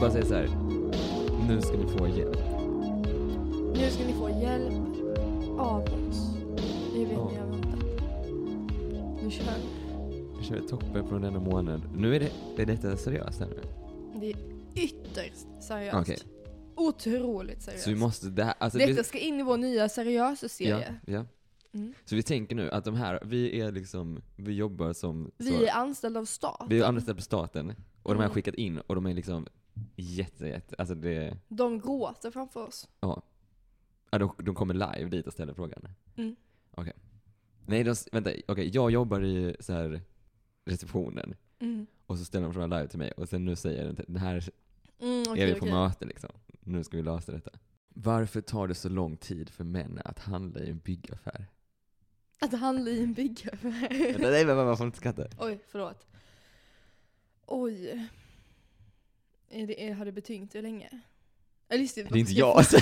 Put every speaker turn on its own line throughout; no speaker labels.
bara säger så här. Nu ska ni få hjälp.
Nu ska ni få hjälp av oss. Nu vet
Ja.
ni jag väntar. Nu kör vi.
Nu kör vi toppen från denna månad. Nu är, det, är detta seriöst här nu.
Det är ytterst seriöst.
Okej.
Otroligt seriöst.
Så vi måste, det här, alltså,
Detta ska in i vår nya seriösa
vi, ja,
serie.
ja.
Mm.
Så vi tänker nu att de här, vi är liksom, vi jobbar som, så,
Vi är anställda av staten.
vi är anställda på staten och de här
Mm.
har skickat in och de är liksom jätte, jätte, alltså det,
De gråter framför oss.
ja, de, de kommer live dit och ställer frågan.
Mm.
Okej. Nej, de, s- vänta, okej, jag jobbar i så här receptionen
Mm.
och så ställer de frågan live till mig och sen nu säger den, den här
Mm, okej,
är vi på
okej.
möte liksom. Nu ska vi lösa detta. Varför tar det så lång tid för män att handla i en byggaffär?
Att handla i en byggaffär.
Vänta, nej men man får inte skratta.
Oj, förlåt. Oj. Är det, är, har det betyngt hur länge? Eller just
Det är inte
ska
jag.
få-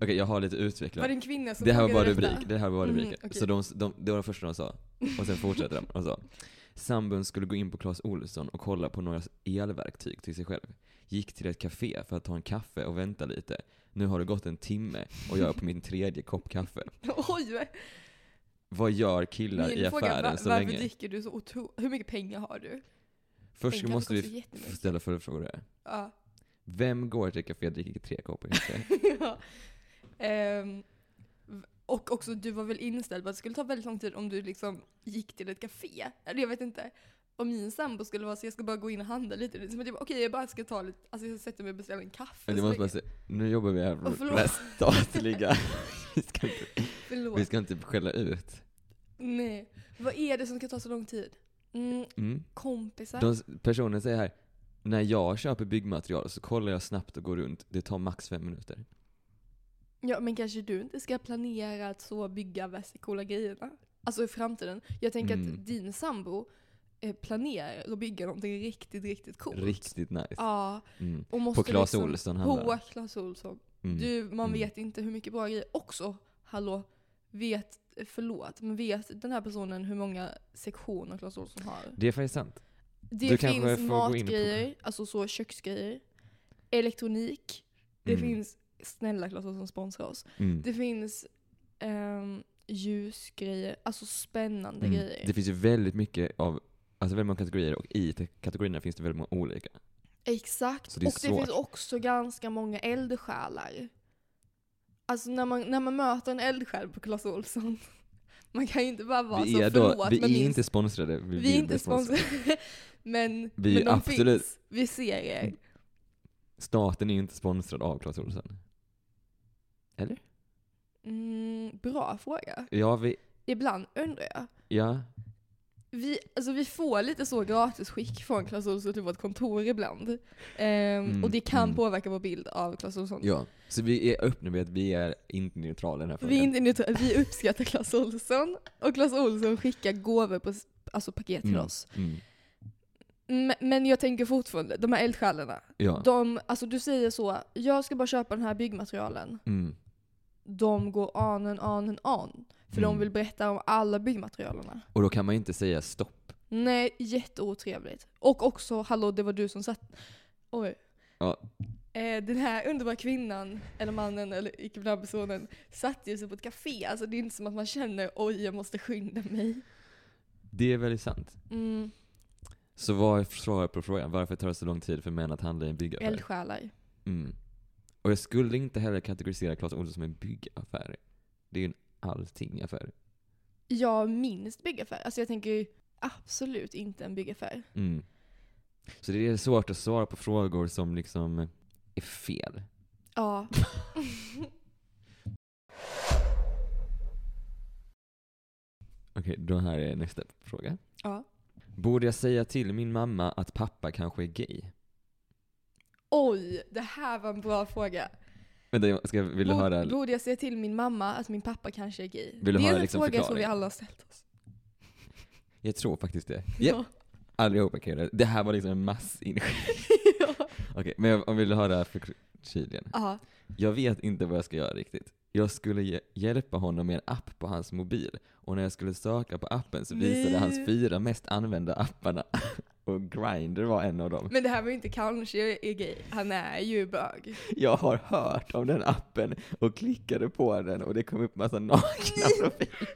Okej, jag har lite utvecklat.
Var det en kvinna som
Det här var bara
frågade detta?
rubrik. Det här var bara
Mhm,
rubriker.
okej.
Så de, de, det var de första de sa. Och sen fortsätter de. De sa. Sambun skulle gå in på Clas Olsson och kolla på några elverktyg till sig själv. Gick till ett café för att ta en kaffe och vänta lite. Nu har det gått en timme och jag är på min tredje kopp kaffe.
Oj!
Vad gör killar i
Min fråga
affären
var,
så
varför
länge?
dricker du så otroligt... Hur mycket pengar har du?
Först
Pengar
måste vi f-
kostar jättemycket.
ställa följdfrågor här.
Ja.
Vem går till ett café och dricker tre koppar kaffe?
ja. Ehm, v- och också, du var väl inställd på att det skulle ta väldigt lång tid om du liksom gick till ett café? Eller jag vet inte. Om min sambo skulle vara så jag ska bara gå in och handla lite. Det är som att jag bara, okej jag bara ska ta lite, alltså jag sätter mig och beställer en kaffe.
Men du
så
måste bara
länge.
säga, nu jobbar vi här
Åh,
för
förlåt.
den statliga. vi, ska inte,
Förlåt.
vi ska inte skälla ut.
Nej. Vad är det som ska ta så lång tid? Mm,
Mm.
kompisar.
De, s- personen säger här, när jag köper byggmaterial så kollar jag snabbt och går runt. Det tar max fem minuter.
Ja, men kanske du inte ska planera att så bygga värsta coola grejerna. Alltså i framtiden. Jag tänker
Mm.
att din sambo eh, planerar att bygga någonting riktigt, riktigt coolt.
Riktigt nice.
Ja,
Mm.
och måste
På Clas
liksom,
Ohlson handlar
På
det.
Clas Ohlson.
mm.
Du, man
Mm.
vet inte hur mycket bra grejer. Också, hallå, vet, förlåt, men vet den här personen hur många sektioner Clas Ohlson har?
Det är faktiskt sant.
Det
Du kanske
finns
får gå in på-
matgrejer, alltså så köksgrejer, elektronik. Det
Mm.
finns, snälla Clas Ohlson sponsra oss.
Mm.
Det finns ehm, ljusgrejer, alltså spännande
Mm.
grejer.
Det finns ju väldigt mycket av, alltså väldigt många kategorier och i te- kategorierna finns det väldigt många olika.
Exakt,
Så det är
och det
svårt.
finns också ganska många eldsjälar. Alltså när man, när man möter en eldsjäl på Clas Ohlson, man kan ju inte bara vara
Vi
så
är,
förlåt
då, vi
men
är
min-
inte sponsrade. Vi,
vi
vill
är
bli
inte sponsrade. men
Vi är
men de
absolut-
finns, vi ser er.
Staten är ju inte sponsrad av Clas Ohlson.
Mm, bra fråga.
Ja, vi,
Ibland undrar jag.
ja,
Vi, alltså vi får lite så gratisskick från Clas Ohlson till vårt kontor ibland. Ehm,
Mm,
och det kan
mm.
påverka vår bild av Clas Ohlson.
ja. Så vi är öppna med att vi är inte neutrala i den här
Vi,
frågan.
är inte neutrala, vi uppskattar Clas Ohlson och Clas Ohlson skickar gåvor på s- alltså paket till
Mm.
oss.
Mm.
Men, men jag tänker fortfarande, de här eldsjälarna.
Ja.
De, alltså du säger så, jag ska bara köpa den här byggmaterialen.
Mm.
De går on and on and on. För de
Mm.
vill berätta om alla byggmaterialerna.
Och då kan man ju inte säga stopp.
Nej, jätteotrevligt. Och också, hallå det var du som satt... Oj.
Ja.
Eh, den här underbara kvinnan, eller mannen, eller icke binära personen, satte ju sig på ett café. Alltså det är inte som att man känner oj jag måste skynda mig.
Det är väldigt sant.
Mm,
Så vad är svaret på frågan? Varför tar det så lång tid för män att handla i en byggaffär?
eldsjälar.
Mm. Och jag skulle inte heller kategorisera Clas Ohlson som en byggaffär. Det är ju en allting-affär.
Ja, minst byggaffär. Alltså jag tänker ju absolut inte en byggaffär.
Mm. Så det är svårt att svara på frågor som liksom är fel.
Ja.
Okej, då här är nästa fråga.
ja.
Borde jag säga till min mamma att pappa kanske är gay?
Oj, det här var en bra fråga.
Vänta, jag ska, vill du
Bo-
höra?
Borde jag säga till min mamma att min pappa kanske är gay?
Vill du
det är
höra
en
liksom
fråga som vi
förklaringen?
alla har ställt oss.
Jag tror faktiskt det. Yep, allihopa kan göra det. Det här var liksom en massinskick.
ja.
Okej, men jag, jag vill höra förtydligande.
Ja.
Jag vet inte vad jag ska göra riktigt. Jag skulle hj- hjälpa honom med en app på hans mobil och när jag skulle söka på appen så visade
Nej.
hans fyra mest använda apparna. Och Grindr var en av dem.
Men det här var ju inte kanske jag är gay. Han är ju bög.
Jag har hört om den appen och klickade på den och det kom upp massa nakna profiler.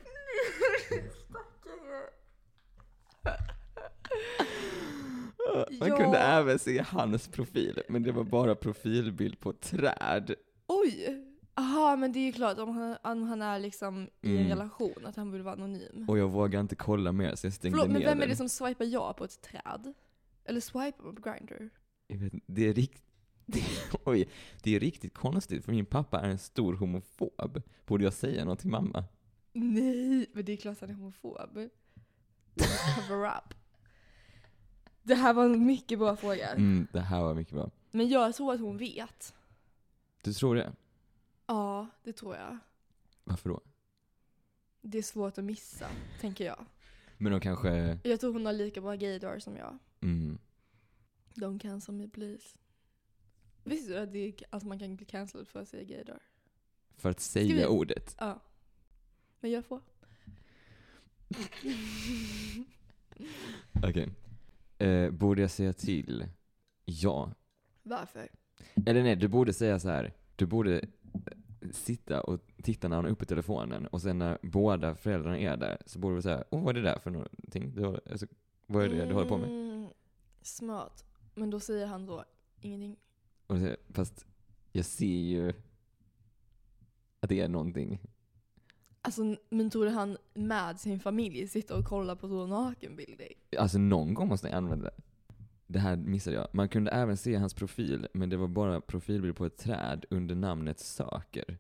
Man
Ja.
kunde även se hans profil, men det var bara profilbild på ett träd.
Oj! Aha, men det är ju klart om han, om han är liksom i en
Mm.
relation att han borde vara anonym.
Och jag vågade inte kolla mer så jag stängde
Förlåt, men
ner
vem är
den.
det som swipar ja på ett träd? Eller swipar man på Grindr?
Jag vet, inte, det är rikt... Oj, det är riktigt konstigt för min pappa är en stor homofob. Borde jag säga något till mamma?
Nej, men det är klart han är homofob. Cover up. Det här var en mycket bra fråga.
Mm, det här var mycket bra.
Men jag tror att hon vet.
Du tror det?
Ja, det tror jag.
Varför då?
Det är svårt att missa, tänker jag.
Men de kanske...
Jag tror hon har lika bra gaydagar som jag.
Mm.
De kan som i please. Visste du att, det är, att man kan bli cancelled för att säga gaydar?
För att
vi-
säga ordet.
Ja. Men jag får.
Okej. Eh, borde jag säga till? Ja.
Varför?
Eller nej, du borde säga så här. Du borde eh, sitta och titta när han har uppe telefonen och sen när båda föräldrarna är där så borde du säga Åh, vad är det där för någonting? Du håller, alltså, vad är det du håller på med?
Mm, smart. Men då säger han då ingenting.
Och du säger, Fast jag ser ju att det är någonting.
Alltså, men tror du han med sin familj sitter och kollar på så nakenbilder?
Alltså någon gång måste jag använda det. Det här missade jag. Man kunde även se hans profil, men det var bara profilbild på ett träd under namnet Söker.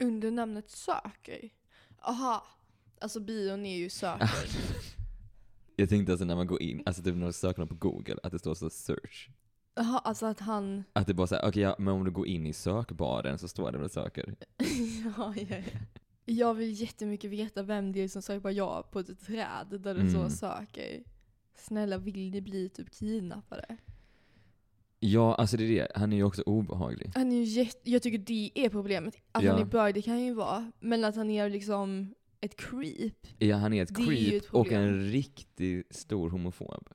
Under namnet Söker? Aha. Alltså bion är ju Söker.
Jag tänkte alltså när man går in, alltså typ när man söker någon på google, att det står så search.
Aha, alltså att han...
Att det bara såhär, okej ja, men om du går in i sökbaren så står det väl söker.
ja, ja, ja. Jag vill jättemycket veta vem det är som söker på ja på ett träd där det
Mm.
så söker. Snälla vill ni bli typ kidnappade?
Ja, alltså det är det. Han är ju också obehaglig.
Han är ju jätt... Jag tycker det är problemet. Att
Ja.
han är bög, det kan ju vara. Men att han är liksom ett creep.
Ja, han är ett
Det är ju
creep
ett
och
problem.
en riktigt stor homofob.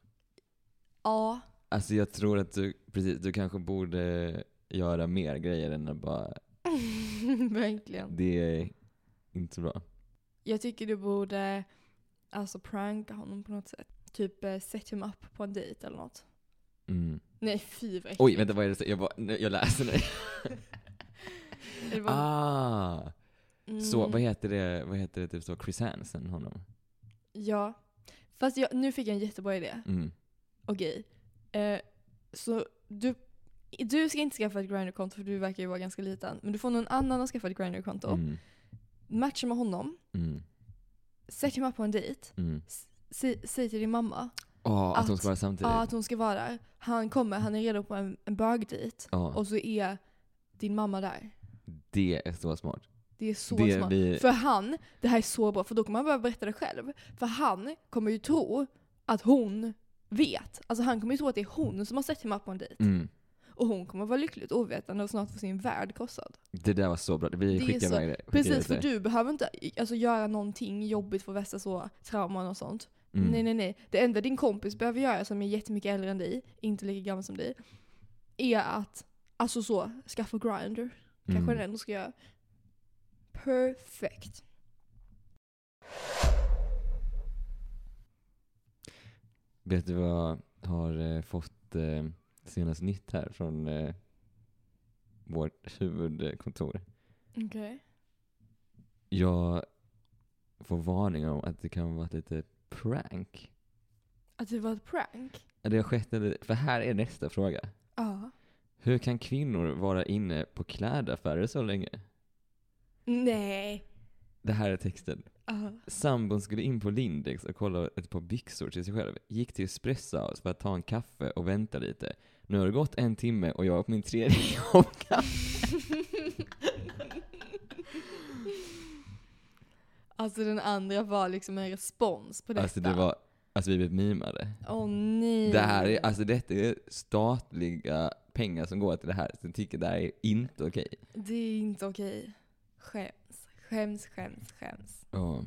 Ja.
Alltså jag tror att du, precis, du kanske borde göra mer grejer än att bara,
Verkligen.
det är inte bra.
Jag tycker du borde alltså pranka honom på något sätt. Typ eh, set him up på en dejt eller något.
Mm.
Nej fy vad
Oj, vänta vad är det? Jag, bara, nej, jag läser nu.
Det var-
Ah! Så,
Mm.
vad heter det, vad heter det typ så? Chris Hansen, honom?
Ja. Fast jag, nu fick jag en jättebra idé.
Mm.
Okej. Eh, så du, du ska inte skaffa ett Grindr-konto för du verkar ju vara ganska liten. Men du får någon annan att skaffa ett Grindr-konto.
Mm.
Matcha med honom.
Mm.
Sätt him up på en dejt.
Mm.
Säg, säg till din mamma
Ah, att, de
Att-
ska vara samtidigt.
ja, att hon ska vara där. Han kommer, han är redo på en, en bögdejt.
Ja.
Och så är din mamma där.
Det är så smart.
Det är så
Det
smart.
vi-
För han, det här är så bra, för då kommer han börja berätta det själv. För han kommer ju tro att hon vet. Alltså han kommer ju tro att det är hon som har sett him up på en dejt.
Mm.
Och hon kommer vara lyckligt ovetande och snart få sin värld krossad.
Det där var så bra.
Det
Vi
är
skickar
så-
iväg det. Skickar
Precis,
det
för
till dig.
du behöver inte alltså, göra någonting jobbigt för att vässa så trauman och sånt.
Mm.
Nej, nej, nej. Det enda din kompis behöver göra, som är jättemycket äldre än dig, inte lika gammal som dig, är att, alltså så, skaffa grinder.
Mm.
Kanske den du ska göra. Perfekt.
Vet du vad jag har eh, fått eh, senast nytt här från eh, vårt huvudkontor?
Okej.
Jag får varning om att det kan ha varit lite prank.
Att det var ett prank?
Det har skett en, för här är nästa fråga.
Ja.
Hur kan kvinnor vara inne på klädaffärer så länge?
Nej.
Det här är texten.
Ja.
Sambon skulle in på Lindex och kolla ett par byxor till sig själv. Gick till Espressohouse för att ta en kaffe och vänta lite. Nu har det gått en timme och jag är på min tredje kopp kaffe.
alltså den andra var liksom en respons på detta.
Alltså det var, alltså vi blev mimade.
Åh nej.
Det här är, alltså detta är statliga pengar som går till det här. Så jag tycker det här är inte okej.
Det är inte okej. Skäms. Skäms, skäms, skäms.
Ja.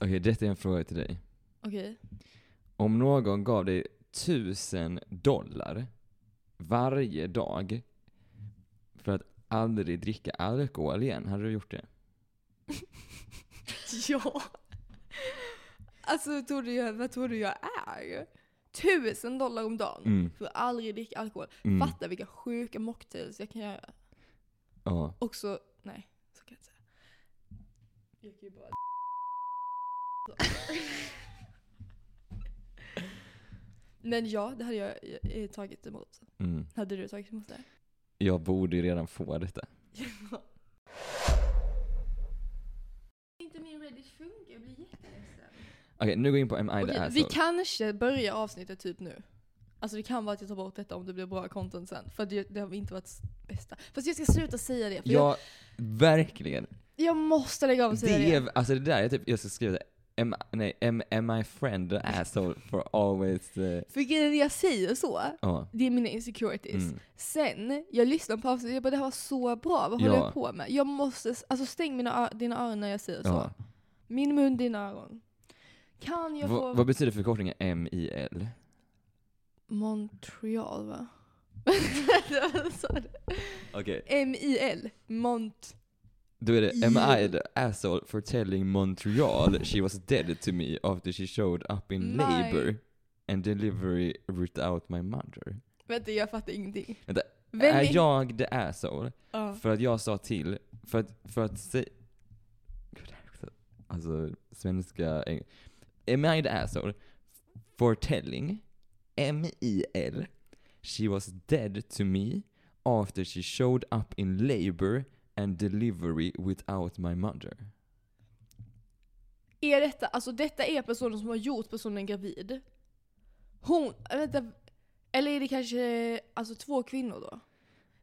Okej, detta är en fråga till dig.
Okej.
Om någon gav dig tusen dollar varje dag för att aldrig dricka alkohol igen, hade du gjort det?
Ja. Alltså tror du, jag- vad tror du jag är? Tusen dollar om dagen.
Mm.
För att aldrig dricka alkohol.
Mm.
Fatta vilka sjuka mocktails jag kan göra.
Ja.
Också, nej, så kan jag inte säga. Jag kan ju bara... Men ja, det hade jag eh, tagit emot.
Mm.
Hade du tagit emot det?
Jag borde ju redan få detta.
Ja. Inte min Reddit funkar, jag blir jätteledsen.
Okej, nu går vi in på Am I the
Okej, vi
asshole?
kanske börjar avsnittet typ nu. Alltså det kan vara att jag tar bort detta om det blir bra content sen. För det, det har inte varit s- bästa. Fast jag ska sluta säga det. För jag,
Ja, verkligen.
jag måste lägga av och säga
Det
det.
är, alltså det där är typ, jag ska skriva det. Am, nej, am, am I friend the asshole for always... eh,
För grejen är när jag säger så,
Ja.
det är mina insecurities.
mm.
Sen, jag lyssnar på avsnittet och jag bara det här var så bra, vad håller
Ja.
jag på med? Jag måste, s- alltså stäng mina, ö- dina öron när jag säger så.
ja.
Min mun, dina öron. Kan jag få
Vad- Vad betyder förkortningen MIL?
Montreal va? Sa du?
Okej.
M-I-L, Mont...
Då är det Am
I-
I the asshole for telling Montreal she was dead to me after she showed up in
My-
labor and delivery without my mother?
Vänta jag fattar ingenting.
Vänta,
Vem
är jag the asshole?
Ja.
För att jag sa till, för att, för att säga... Gud, det här är också- Alltså, svenska... eng- Am I the asshole? For telling, M-I-L, she was dead to me after she showed up in labor and delivery without my mother.
Är detta, alltså detta är personen som har gjort personen gravid? Hon, vänta. Eller är det kanske alltså, två kvinnor då?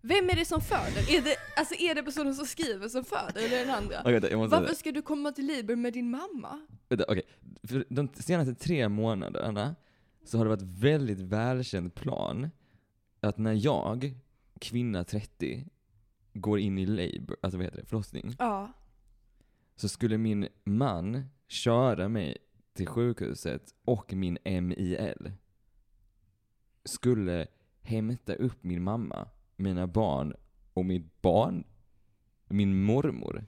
Vem är det som föder? Är det, alltså, är det personen som skriver som föder eller den andra?
Okej, vänta, jag måste...
Varför ska du komma till Liber med din mamma?
Vänta, okej. För de senaste tre månaderna så har det varit väldigt välkänd plan att när jag, kvinna 30, går in i labor, alltså vad heter det, förlossning,
Ja.
så skulle min man köra mig till sjukhuset och min MIL skulle hämta upp min mamma, mina barn och mitt barn, min mormor.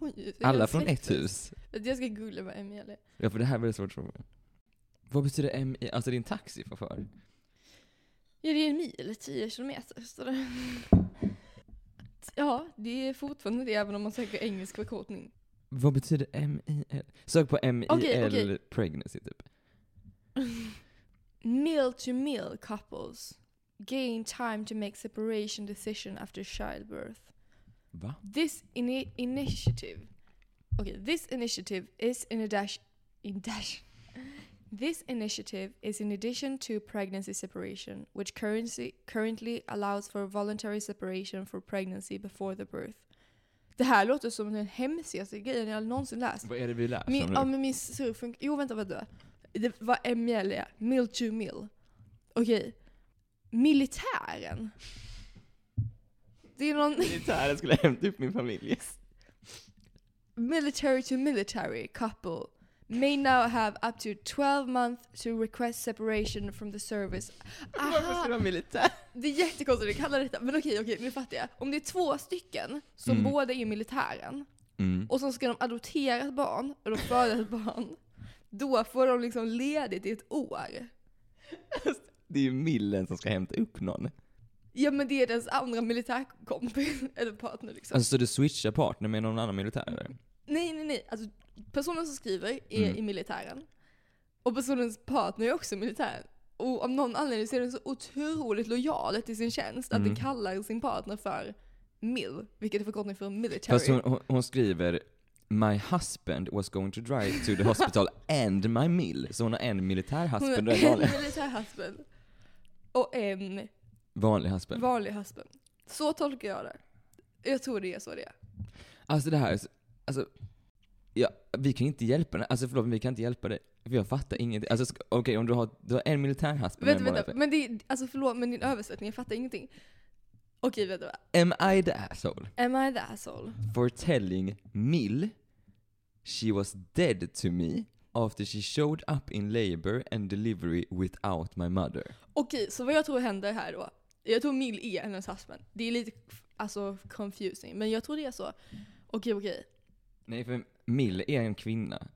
Oj, det är
Alla
en
från ett
släkthus.
hus.
Jag ska googla vad Emiel är.
Ja, för det här är väldigt svårt fråga. Vad betyder M i, alltså din taxichaufför?
Ja, det är en mil, 10 kilometer står det. Ja, det är fortfarande det även om man söker engelsk förkortning.
Vad betyder MIL? Sök på MIL
Okej, okej.
pregnancy typ.
Meal to meal couples gain time to make separation decision after childbirth.
Va?
This ini- initiative. Okay, this initiative is in a dash in dash. This initiative is in addition to pregnancy separation, which currency, currently allows for voluntary separation for pregnancy before the birth. Det här låter som den hemskaste grejen jag någonsin läst.
Vad är det vi läser
Min, ja,
om nu?
men min surr funkar... Jo vänta, vänta. Det var ML är. Mill to mill. Okej. Militären. Det är någon...
Militären skulle hämta upp min familj.
military to military couple may now have up to 12 months to request separation from the service.
Varför
Aha,
skulle de militär?
det är jättekonstigt att kalla detta, men okej, okej, nu fattar jag. Om det är två stycken som
Mm.
båda är i militären
Mm.
och så ska de adoptera ett barn och de föder ett barn, då får de liksom ledigt i ett år.
Det är ju millen som ska hämta upp någon.
Ja men det är deras andra militärkompis, eller partner liksom.
Alltså så du switchar partner med någon annan militär eller?
Mm. Nej, nej, nej. Alltså, personen som skriver är
Mm.
i militären. Och personens partner är också i militären. Och av någon anledning så är den så otroligt lojal till sin tjänst att
Mm.
den kallar sin partner för MIL, vilket är förkortning för military.
Fast hon, hon, hon skriver My husband was going to drive to the hospital and my mill. Så hon har en militär
Hon
husband och
är
en
en
vanlig,
militär husband och en
vanlig husband.
vanlig husband. Så tolkar jag det. Jag tror det är så det är.
Alltså det här, är så- alltså, ja, vi kan inte hjälpa dig. Alltså förlåt, men vi kan inte hjälpa dig. För jag fattar ingenting. Alltså ska- okej, om du har, du har en militär husband
Vänta,
och en
vänta.
vanlig
Men det är, alltså förlåt, men din översättning, jag fattar ingenting. Okej, vänta.
husband. Am I the asshole
Am I the asshole?
for telling Mill she was dead to me after she showed up in labor and delivery without my mother.
Okej, så vad jag tror händer här då. Jag tror Mill är hennes husband. Det är lite f- alltså, confusing, men jag tror det är så. Okej, okej.
Nej, för Mill är en kvinna.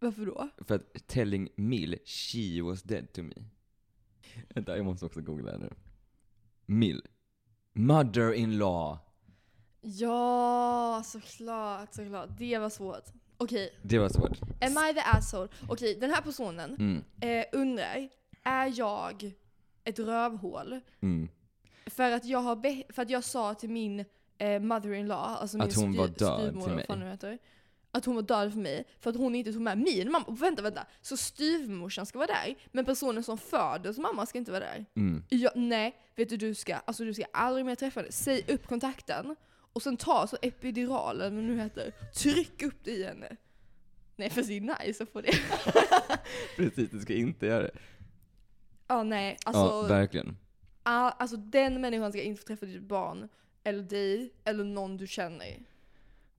Varför då?
För att telling Mill she was dead to me. Vänta, jag måste också googla här nu. Mill. Mother-in-law.
Ja, såklart, såklart. Det var svårt. Okej,
Det var svårt.
am I the asshole? Okej, den här personen
Mm,
eh, undrar, är jag ett rövhål?
mm.
För att jag, har be- för att jag sa till min eh, mother-in-law, alltså min
Att hon var död till
styvmor, vad
mig.
fan hon heter, att hon var död för mig för att hon inte tog med min mamma. Och Vänta, vänta. Så styvmorsan ska vara där, men personen som föddes mamma ska inte vara där?
Mm.
Ja, nej, vet du, du ska, alltså, du ska aldrig mer träffa henne. Säg upp kontakten och sen ta så epiduralen, vad nu heter, tryck upp det i henne. Nej, fast det är nice att få det.
Precis, du ska inte göra det.
Ja, nej.
ja,
Alltså,
verkligen.
Ah, alltså den människan ska inte få träffa ditt barn, eller dig, eller någon du känner.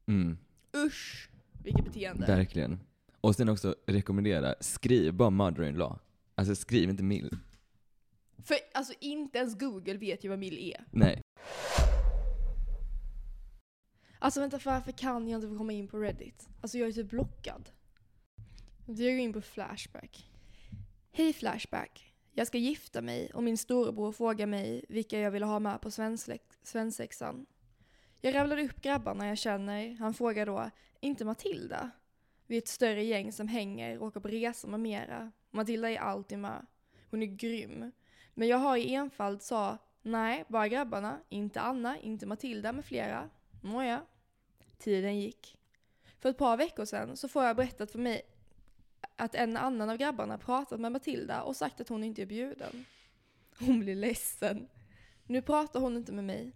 Mm,
Usch! Vilket beteende.
verkligen. Och sen också rekommendera, skriv bara mother-in-law. Alltså skriv inte Mill.
För alltså inte ens Google vet ju vad Mill är.
Nej.
Alltså vänta, varför kan jag inte få komma in på Reddit? Alltså jag är typ blockad. Jag går in på Flashback. Hej Flashback. Jag ska gifta mig och min storebror frågar mig vilka jag vill ha med på svenslek- svensexan. Jag rävlade upp grabbarna jag känner. Han frågar då, inte Matilda? Vi är ett större gäng som hänger, åker på resor med mera. Matilda är alltid med. Hon är grym. Men jag har i enfald sa, nej, bara grabbarna, inte Anna, inte Matilda med flera. Nåja. Tiden gick. För ett par veckor sedan så får jag berättat för mig att en annan av grabbarna pratat med Matilda och sagt att hon inte är bjuden. Hon blir ledsen. Nu pratar hon inte med mig.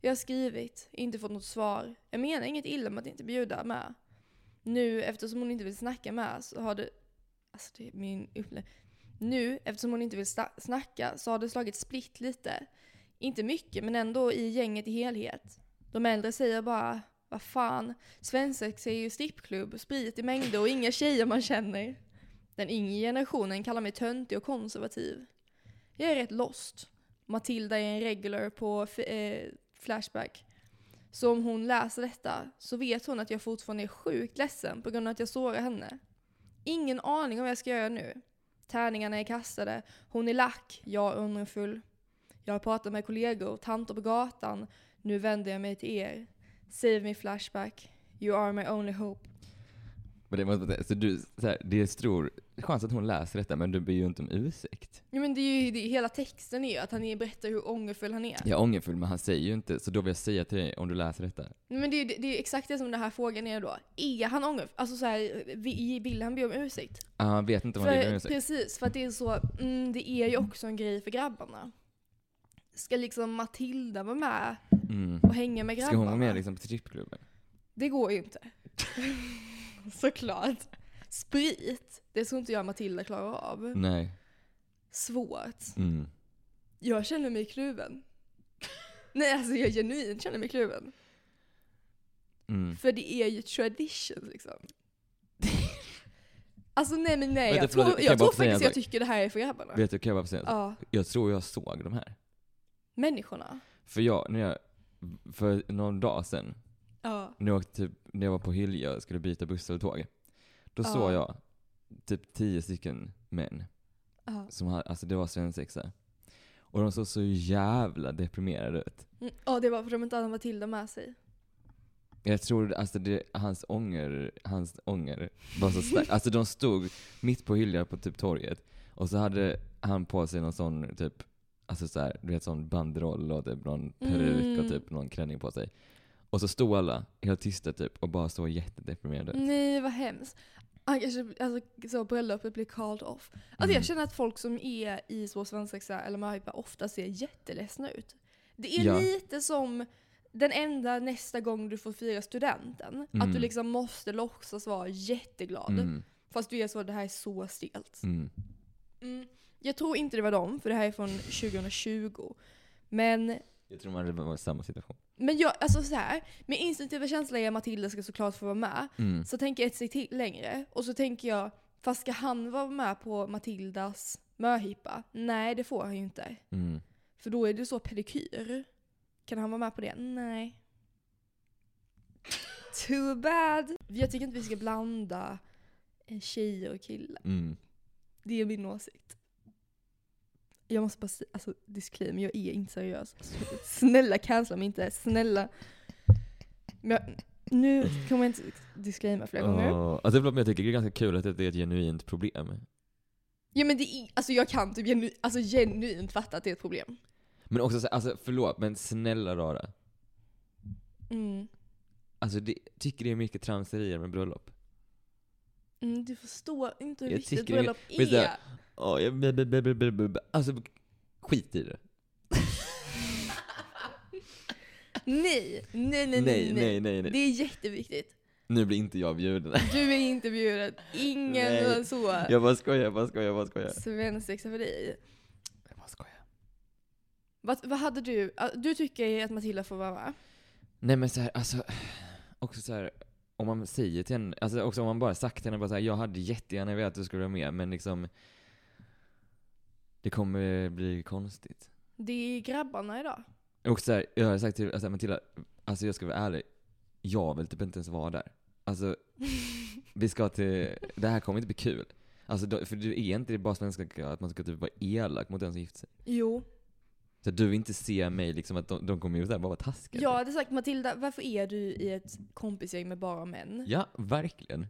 Jag har skrivit, inte fått något svar. Jag menar inget illa med att inte bjuda med. Nu eftersom hon inte vill snacka med så har det... Alltså det är min upplevelse. Nu eftersom hon inte vill sta- snacka så har det slagit splitt lite. Inte mycket men ändå i gänget i helhet. De äldre säger bara, vad fan, svensex är ju strippklubb, sprit i mängder och inga tjejer man känner. Den yngre generationen kallar mig töntig och konservativ. Jag är rätt lost. Matilda är en regular på f- eh, Flashback. Så om hon läser detta så vet hon att jag fortfarande är sjukt ledsen på grund av att jag sårar henne. Ingen aning om vad jag ska göra nu. Tärningarna är kastade, hon är lack, jag är ångerfull. Jag har pratat med kollegor, tanter på gatan nu vänder jag mig till er. Save me flashback. You are my only hope.
Men det, måste, man säga. så du, så här, det är stor chans att hon läser detta, men du ber ju inte om ursäkt.
Ja, men det är ju det, hela texten är ju att han är- berättar hur ångerfull han är.
Jag är ångerfull, men han säger ju inte, så då vill jag säga till dig om du läser detta.
Nej, Men det är, ju- det är ju exakt det som den här frågan är då. Är han ångerfull? Alltså så här, vi- vill han be om ursäkt?
Ah, han vet inte om han ber om
För,
ursäkt.
precis, för att det är så, mm, det är ju också en grej för grabbarna. Ska liksom Matilda vara med
Mm.
och hänga med grabbarna?
Ska hon vara med liksom, på strippklubben?
Det går ju inte. Såklart. Sprit, det tror inte jag Matilda klarar av.
Nej.
Svårt.
Mm.
Jag känner mig kluven. Nej, alltså jag genuint känner mig kluven.
Mm.
För det är ju tradition liksom. alltså nej men nej,
Vänta,
jag
förlåt,
tror,
kan jag
jag
bara
tror
få säga en
faktiskt jag
sak?
tycker det här är för grabbarna.
Vet du, kan jag bara få säga en sak?
Ja,
Jag tror jag såg de här.
människorna.
För jag, när jag, för någon dag sedan,
Ja.
när jag, åkte typ, när jag var på Hyllie och skulle byta buss eller tåg. Då
Ja.
såg jag typ tio stycken män.
ja.
Som hade, alltså det var svensexa. Och de såg så jävla deprimerade ut.
Mm, ja, det var för att de inte hade Matilda med sig.
Jag tror alltså det, hans ånger, hans ånger var så stark. Alltså de stod mitt på hyllan på typ torget. Och så hade han på sig någon sån typ, alltså så här, du vet sån banderoll och typ någon peruk och
Mm.
typ någon klänning på sig. Och så stod alla helt tysta typ och bara såg jättedeprimerade ut.
Nej, vad hemskt. Han kanske, alltså så bröllopet blir called off. Alltså
Mm.
jag känner att folk som är i så svensexa eller möhippa ofta ser jätteledsna ut. Det är
Ja.
lite som den enda nästa gång du får fira studenten. Att du
Mm.
liksom måste låtsas vara jätteglad.
Mm,
Fast du är så, det här är så stelt.
mm,
Mm. Jag tror inte det var dem, för det här är från 2020. Men
Jag tror man var i samma situation.
men jag, alltså så här, min instinktiva känsla är att Matilda ska såklart få vara med.
Mm.
Så tänker jag ett steg till längre och så tänker jag, Fast ska han vara med på Matildas möhippa? Nej, det får han ju inte.
Mm.
För då är det så pedikyr. Kan han vara med på det? Nej. Too bad! Jag tycker inte vi ska blanda eh, tjejer och killar.
Mm.
Det är min åsikt. Jag måste bara säga, alltså disclaimer, jag är inte seriös. Snälla cancella mig inte, snälla. Men jag, nu kommer jag inte disclaima flera gånger.
Ja, alltså, förlåt, men jag tycker det är ganska kul att det är ett genuint problem.
Ja men det är, alltså jag kan typ genu, alltså genuint fatta att det är ett problem.
Men också så, här, alltså förlåt, men snälla rara.
Mm.
Alltså det, tycker det är mycket tramserier med bröllop.
Mm, du förstår inte hur
Jag
viktigt
tycker det är-
bröllop
Vet du-
är.
Oh, jag, b, b, b, b, b, b, b. Alltså skit i det.
nej, nej, nej, nej,
Nej, nej, nej. nej.
Det är jätteviktigt.
Nu blir inte jag bjuden.
Du är inte bjuden. Ingen
Nej.
var så
Jag bara skojar, jag bara skojar, jag bara skojar.
svensexa för dig.
Jag bara skojar.
Vad, vad hade du? ah, Du tycker att Matilda får vara med?
Nej men så här, alltså, också så här, om man säger till henne, alltså också om man bara sagt till henne bara så här, jag hade jättegärna velat att du skulle vara med, men liksom det kommer bli konstigt.
Det är grabbarna idag.
Och så här, jag har sagt till alltså, Matilda, alltså jag ska vara ärlig, jag vill typ inte ens vara där. Alltså, vi ska till, det här kommer inte bli kul. Alltså, då- för du är inte det är bara svenska att man ska typ vara elak mot den som gifter sig.
Jo.
Så du vill inte se mig liksom att de, de kommer ju där bara vara taskiga.
Jag hade sagt Matilda, varför är du i ett kompisgäng med bara män?
typ. Ja, verkligen.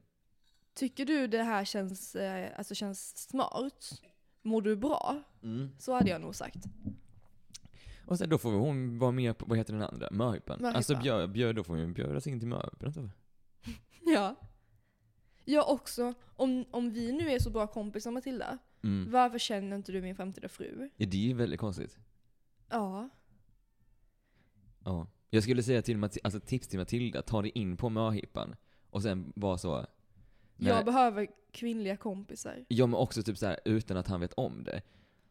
Tycker du det här känns, eh, alltså känns smart? Mår du bra?
Mm.
Så hade jag nog sagt.
Och sen då får hon vara med på, vad heter den andra? Möhippan.
Möhippan.
Alltså bjöd, bjöd, då får hon bjudas in till möhippan. antar jag.
Ja. Jag också. Om, om vi nu är så bra kompisar Matilda,
Mm.
varför känner inte du min framtida fru?
Ja, det är ju väldigt konstigt.
Ja.
Ja. Jag skulle säga till Mati- alltså tips till Matilda, ta dig in på möhippan. Och sen vara så... Nej.
Jag behöver kvinnliga kompisar.
Ja men också typ så här utan att han vet om det.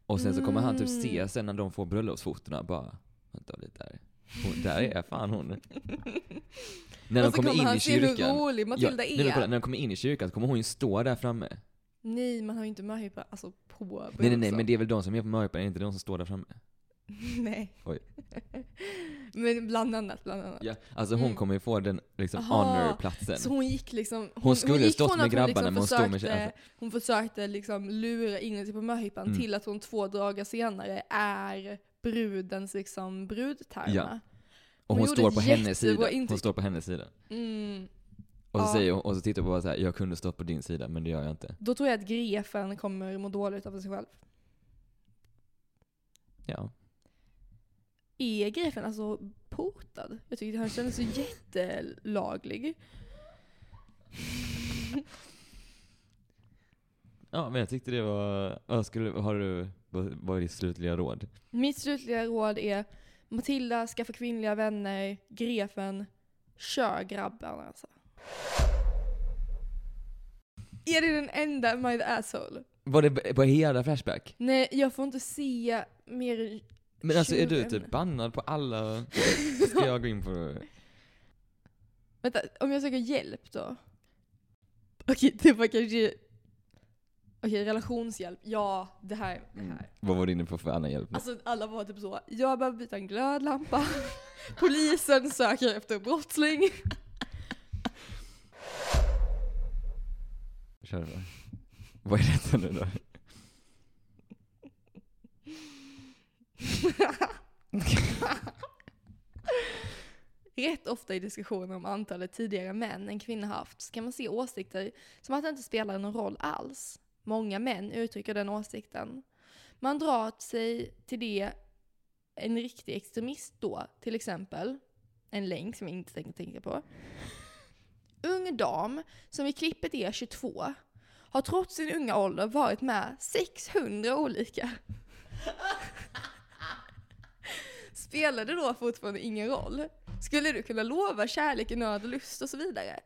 Och sen så kommer han typ se
Mm.
sen när de får bröllopsfotona bara Vänta lite där. Hon, där är fan hon. när de
Och så
kommer in
han
i
se hur
kyrkan.
rolig Matilda
ja, nej, men
är.
kolla, när de kommer in i kyrkan så kommer hon ju stå där framme.
Nej, man har ju inte möhippa alltså, på
Nej nej nej men det är väl de som är på möhippan, är det inte de som står där framme?
Nej.
Oj.
men bland annat, bland annat.
Ja, alltså hon
Mm.
kommer ju få den liksom
Aha,
honor-platsen.
Så hon gick liksom... Hon,
skulle
gick
stått
från
med
att liksom
grabbarna, men hon stod med
försökte,
tjejerna.
Hon försökte liksom lura in sig på möhippan
Mm.
till att hon två dagar senare är brudens liksom brudtärna.
och
hon
hon
gjorde
står på
ett
hennes
jättebra
sida. Hon
intryck.
står på hennes sida.
Mm.
Och så,
Ja.
säger hon, och så tittar hon på bara så här, jag kunde stått på din sida men det gör jag inte.
Då tror jag att grefen kommer må dåligt av sig själv.
Ja.
Är grefen alltså portad? Jag tyckte han kändes så jättelaglig.
Ja men jag tyckte det var, vad skulle, har du, vad vad är ditt slutliga råd?
Mitt slutliga råd är Matilda, skaffa kvinnliga vänner. Grefen, kör grabbarna alltså. Är det den enda Am I the asshole?
Var det på hela Flashback?
Nej, jag får inte se mer...
Men alltså är du
Tjuren.
typ bannad på alla? Ska jag gå in på...
Vänta, om jag söker hjälp då? Okej, det var kanske... Okej, relationshjälp. Ja, det här. Det här.
Vad var du inne på för annan hjälp? nu?
Alltså alla var typ så, jag behöver byta en glödlampa. Polisen söker efter brottsling.
Kör då. Vad är detta nu då?
Rätt ofta i diskussioner om antalet tidigare män en kvinna haft så kan man se åsikter som att det inte spelar någon roll alls. Många män uttrycker den åsikten. Man drar sig till det en riktig extremist då, till exempel en länk som jag inte tänker tänka på. Ung dam, som i klippet är 22, har trots sin unga ålder varit med 600 olika. Spelade då fortfarande ingen roll? Skulle du kunna lova kärlek i nöd och lust och så vidare?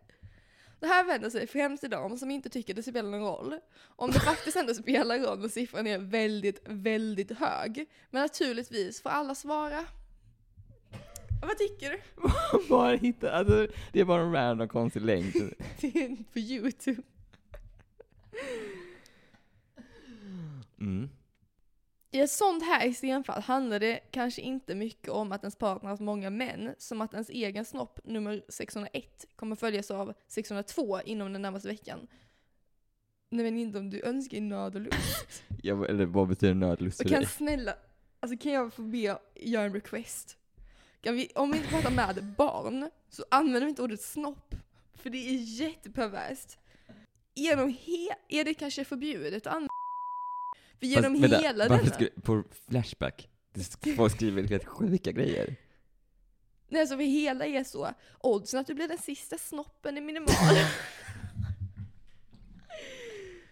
Det här vänder sig främst till de som inte tycker det spelar någon roll. Om det faktiskt ändå spelar roll och siffran är väldigt, väldigt hög. Men naturligtvis får alla svara. Vad tycker du?
bara hitta, alltså, det är bara en random konstig länk.
Det är på YouTube.
Mm.
I ett sånt här extremfall handlar det kanske inte mycket om att ens partner haft många män, som att ens egen snopp nummer 601 kommer följas av 602 inom den närmaste veckan. Nej men inte om du önskar nöd och lust.
Jag, eller vad betyder nödlust
Och kan snälla, alltså kan jag få be göra en request? Kan vi, om vi inte pratar med barn, så använder vi inte ordet snopp. För det är jätteperverst. Genom he- är det kanske förbjudet att använda För genom
Fast, vänta,
hela
varför
denna...
skri- På Flashback, det sk- folk skriver helt sjuka grejer.
Nej, så för hela är så. Oddsen att du blir den sista snoppen är minimal.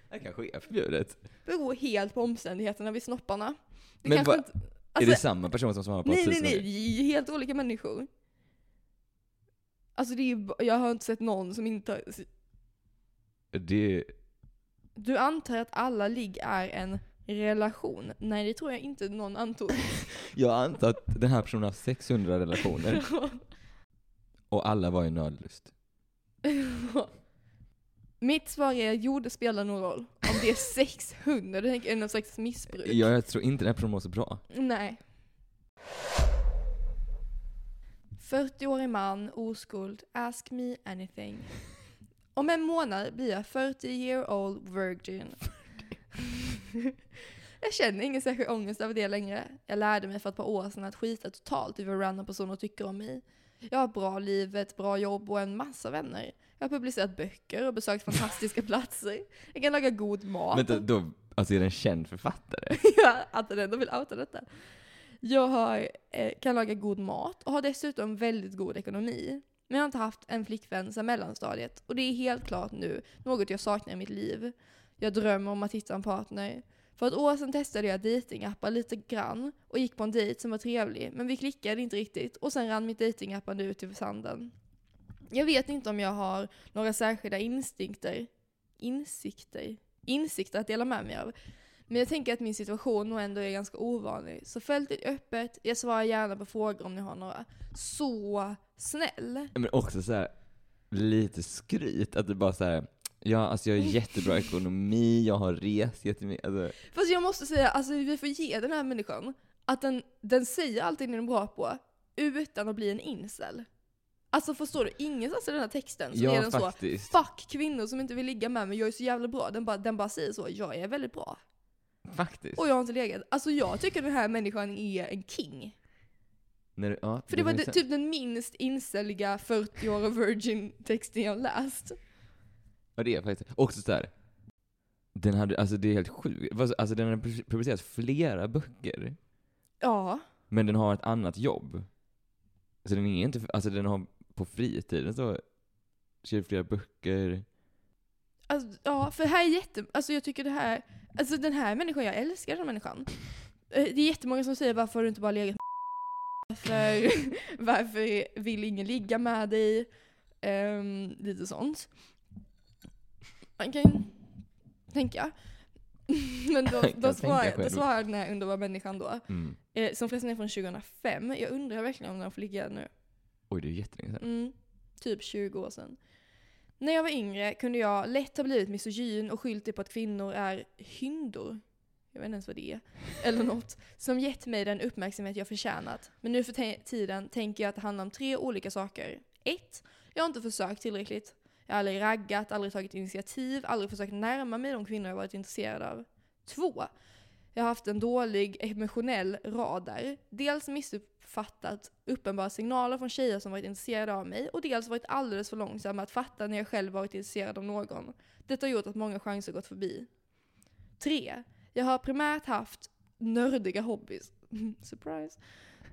Det kanske är förbjudet.
Beror helt på omständigheterna vid snopparna. Det
Men
kanske
vad-
inte...
är
Alltså,
det samma person som svarar på
nej, nej,
tusen
nej.
gånger?
Det är helt olika människor. Alltså det är ju, ba- jag har inte sett någon som inte har...
Det,
Du antar att alla ligg är en relation? Nej, det tror jag inte någon antog.
jag antar att den här personen har 600 relationer och alla var i nödlust.
Mitt svar är, jo det spelar någon roll. Om det är 600, det är någon slags missbruk.
Ja, jag tror inte den här personen mår så bra.
Nej. 40-årig man, oskuld, ask me anything. Om en månad blir jag 40 year old virgin. jag känner ingen särskild ångest över det längre. Jag lärde mig för ett par år sedan att skita totalt i vad random personer tycker om mig. Jag har ett bra liv, ett bra jobb och en massa vänner. Jag har publicerat böcker och besökt fantastiska platser. Jag kan laga god mat.
Vänta, då, alltså är den känd författare?
Jag antar ändå vill outa detta. Jag har, eh, kan laga god mat och har dessutom väldigt god ekonomi. Men jag har inte haft en flickvän sedan mellanstadiet och det är helt klart nu något jag saknar i mitt liv. Jag drömmer om att hitta en partner. För ett år sedan testade jag datingappar lite grann och gick på en dejt som var trevlig men vi klickade inte riktigt och sen rann mitt datingappande ut i sanden. Jag vet inte om jag har några särskilda instinkter, insikter, insikter att dela med mig av. Men jag tänker att min situation nog ändå är ganska ovanlig. Så fältet är öppet, jag svarar gärna på frågor om ni har några. Så snäll!
Men också så här lite skryt, att det bara så här. ja alltså jag har jättebra ekonomi, jag har rest jättemycket. Alltså,
Fast jag måste säga, alltså vi får ge den här människan att den, den säger allting den är bra på utan att bli en incel. Alltså förstår du? Ingenstans i den här texten så är
ja
den
faktiskt.
så Fuck kvinnor som inte vill ligga med mig, jag är så jävla bra. Den bara, den bara säger så, jag är väldigt bra.
Faktiskt.
Och jag har inte legat. Alltså jag tycker den här människan är en king.
När, du- ja,
För det var
kan
det,
jag säga.
typ den minst inceliga 40-åriga virgin-texten jag läst.
Ja det är faktiskt. Också så här. Den hade, alltså det är helt sjukt. Vad- Alltså den hade pu- publicerat flera böcker.
Ja.
Men den har ett annat jobb. Så den är inte, alltså den har på fritiden så skriver flera böcker.
Alltså, ja, för här är jätte... Alltså jag tycker det här... Alltså den här människan, jag älskar den här människan. Eh, Det är jättemånga som säger varför har du inte bara legat med varför, varför vill ingen ligga med dig? Ehm, lite sånt. Man kan ju tänka. Men då,
Kan
då,
tänka
svarar, då
själv.
svarar den här underbara människan då. Eh, som förresten är från 2005. Jag undrar verkligen om den får ligga nu.
Oj, det är jättelänge sedan.
Mm, typ 20 år sedan. När jag var yngre kunde jag lätt ha blivit misogyn och skyllt det på att kvinnor är hyndor. Jag vet inte ens vad det är. Eller något. Som gett mig den uppmärksamhet jag förtjänat. Men nu för te- tiden tänker jag att det handlar om tre olika saker. Ett, Jag har inte försökt tillräckligt. Jag har aldrig raggat, aldrig tagit initiativ, aldrig försökt närma mig de kvinnor jag varit intresserad av. Två, Jag har haft en dålig emotionell radar. Dels missuppfattat uppenbara signaler från tjejer som varit intresserade av mig och dels varit alldeles för långsam med att fatta när jag själv varit intresserad av någon. Detta har gjort att många chanser gått förbi. Tre, Jag har primärt haft nördiga hobbys. Surprise.